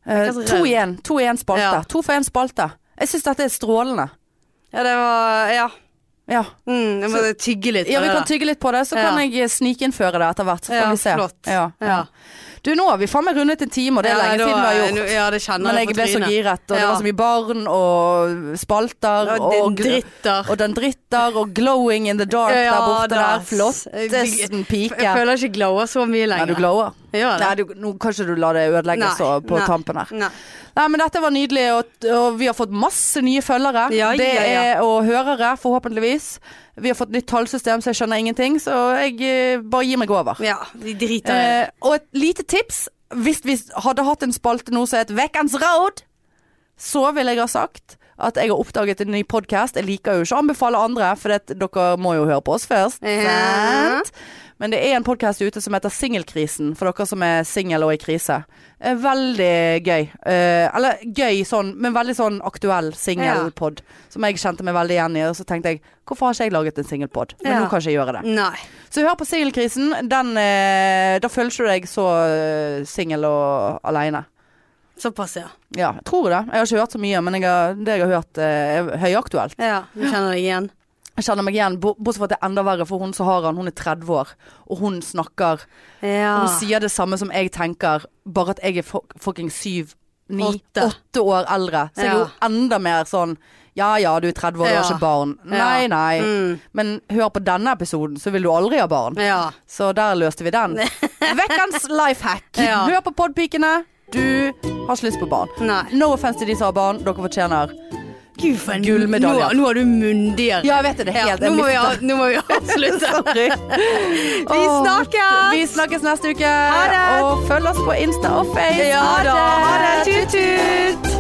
Speaker 1: Eh,
Speaker 2: Hva så
Speaker 1: To
Speaker 2: redd?
Speaker 1: igjen. To i en spalte.
Speaker 2: Ja.
Speaker 1: To for én spalte. Jeg syns dette er strålende.
Speaker 2: Ja, det var Ja.
Speaker 1: Ja.
Speaker 2: Mm, jeg må tygge litt.
Speaker 1: ja,
Speaker 2: på
Speaker 1: vi
Speaker 2: det
Speaker 1: kan
Speaker 2: der.
Speaker 1: tygge litt på det, så
Speaker 2: Ja.
Speaker 1: kan jeg eh, snikinnføre det etter hvert. Så får
Speaker 2: Ja,
Speaker 1: vi se.
Speaker 2: flott.
Speaker 1: Ja, ja.
Speaker 2: Ja.
Speaker 1: Du, nå har vi faen meg rundet en time, og det er
Speaker 2: Ja,
Speaker 1: lenge
Speaker 2: da-
Speaker 1: siden vi har gjort.
Speaker 2: nå- Ja, det kjenner
Speaker 1: Men
Speaker 2: jeg
Speaker 1: jeg
Speaker 2: på
Speaker 1: ble så
Speaker 2: trynet.
Speaker 1: giret, og det
Speaker 2: Ja.
Speaker 1: var så mye barn og spalter
Speaker 2: Ja,
Speaker 1: og,
Speaker 2: den
Speaker 1: gr-
Speaker 2: dritter.
Speaker 1: og den dritter og glowing in the dark
Speaker 2: Ja,
Speaker 1: der borte
Speaker 2: da.
Speaker 1: der. Flottesen pike.
Speaker 2: Jeg føler ikke glower så mye
Speaker 1: Nei,
Speaker 2: lenger.
Speaker 1: du glower.
Speaker 2: Jeg gjør det.
Speaker 1: Nei, du, nå kan ikke du la det ødelegge
Speaker 2: Nei,
Speaker 1: så på
Speaker 2: nei,
Speaker 1: tampen her.
Speaker 2: Nei.
Speaker 1: Nei, men dette var nydelig, og, og vi har fått masse nye følgere.
Speaker 2: Ja,
Speaker 1: det
Speaker 2: ja, ja.
Speaker 1: er og hørere, forhåpentligvis. Vi har fått nytt tallsystem, så jeg skjønner ingenting. Så jeg eh, bare gir meg over.
Speaker 2: Ja, de driter i det.
Speaker 1: Eh, og et lite tips. Hvis vi hadde hatt en spalte nå som het Vekkens råd, så ville jeg ha sagt at jeg har oppdaget en ny podkast. Jeg liker jo ikke å anbefale andre, for det, dere må jo høre på oss først.
Speaker 2: Ja.
Speaker 1: Sant? Men det er en podkast ute som heter Singelkrisen, for dere som er singel og i krise. Eh, Veldig gøy. Eh, Eller gøy sånn, men veldig sånn aktuell singelpod. Som jeg kjente meg veldig igjen i. Og så tenkte jeg hvorfor har ikke jeg laget en singelpod? Men
Speaker 2: Ja.
Speaker 1: nå kan ikke jeg gjøre det.
Speaker 2: Nei.
Speaker 1: Så hør på Singelkrisen. Den, eh, da føler ikke du deg så eh, singel og aleine.
Speaker 2: Såpass, ja.
Speaker 1: Ja, jeg tror det. Jeg har ikke hørt så mye, men jeg har, det jeg har hørt, eh, er høyaktuelt.
Speaker 2: ja. Du kjenner deg igjen.
Speaker 1: Jeg kjenner meg igjen, bo- bortsett fra at det er enda verre for hun som har han. Hun er 30 år, og hun snakker
Speaker 2: Ja.
Speaker 1: Hun sier det samme som jeg tenker, bare at jeg er fuck- fucking syv, ni,
Speaker 2: Åtte.
Speaker 1: åtte, år eldre. Så jeg er jo enda mer sånn Ja ja, du er 30 år, du
Speaker 2: Ja. Mm.
Speaker 1: har ikke barn. Nei, nei. Men hør på denne episoden, så vil du aldri ha barn.
Speaker 2: Ja.
Speaker 1: Så der løste vi den. Vekkens life hack.
Speaker 2: Ja.
Speaker 1: Hør på podpikene. Du har ikke lyst på barn.
Speaker 2: Nei.
Speaker 1: No offense til de som har barn. Dere fortjener
Speaker 2: Gud, for en
Speaker 1: Gullmedaljer.
Speaker 2: Nå, nå er du myndigere.
Speaker 1: Ja, jeg vet det. Det er helt
Speaker 2: nå, må vi,
Speaker 1: jeg
Speaker 2: av- nå må vi avslutte.
Speaker 1: mistet det.
Speaker 2: Vi
Speaker 1: Åh.
Speaker 2: snakkes!
Speaker 1: Vi snakkes neste uke.
Speaker 2: det.
Speaker 1: Og følg oss på Insta og Face.
Speaker 2: Ja da. Ha det. Tut-tut.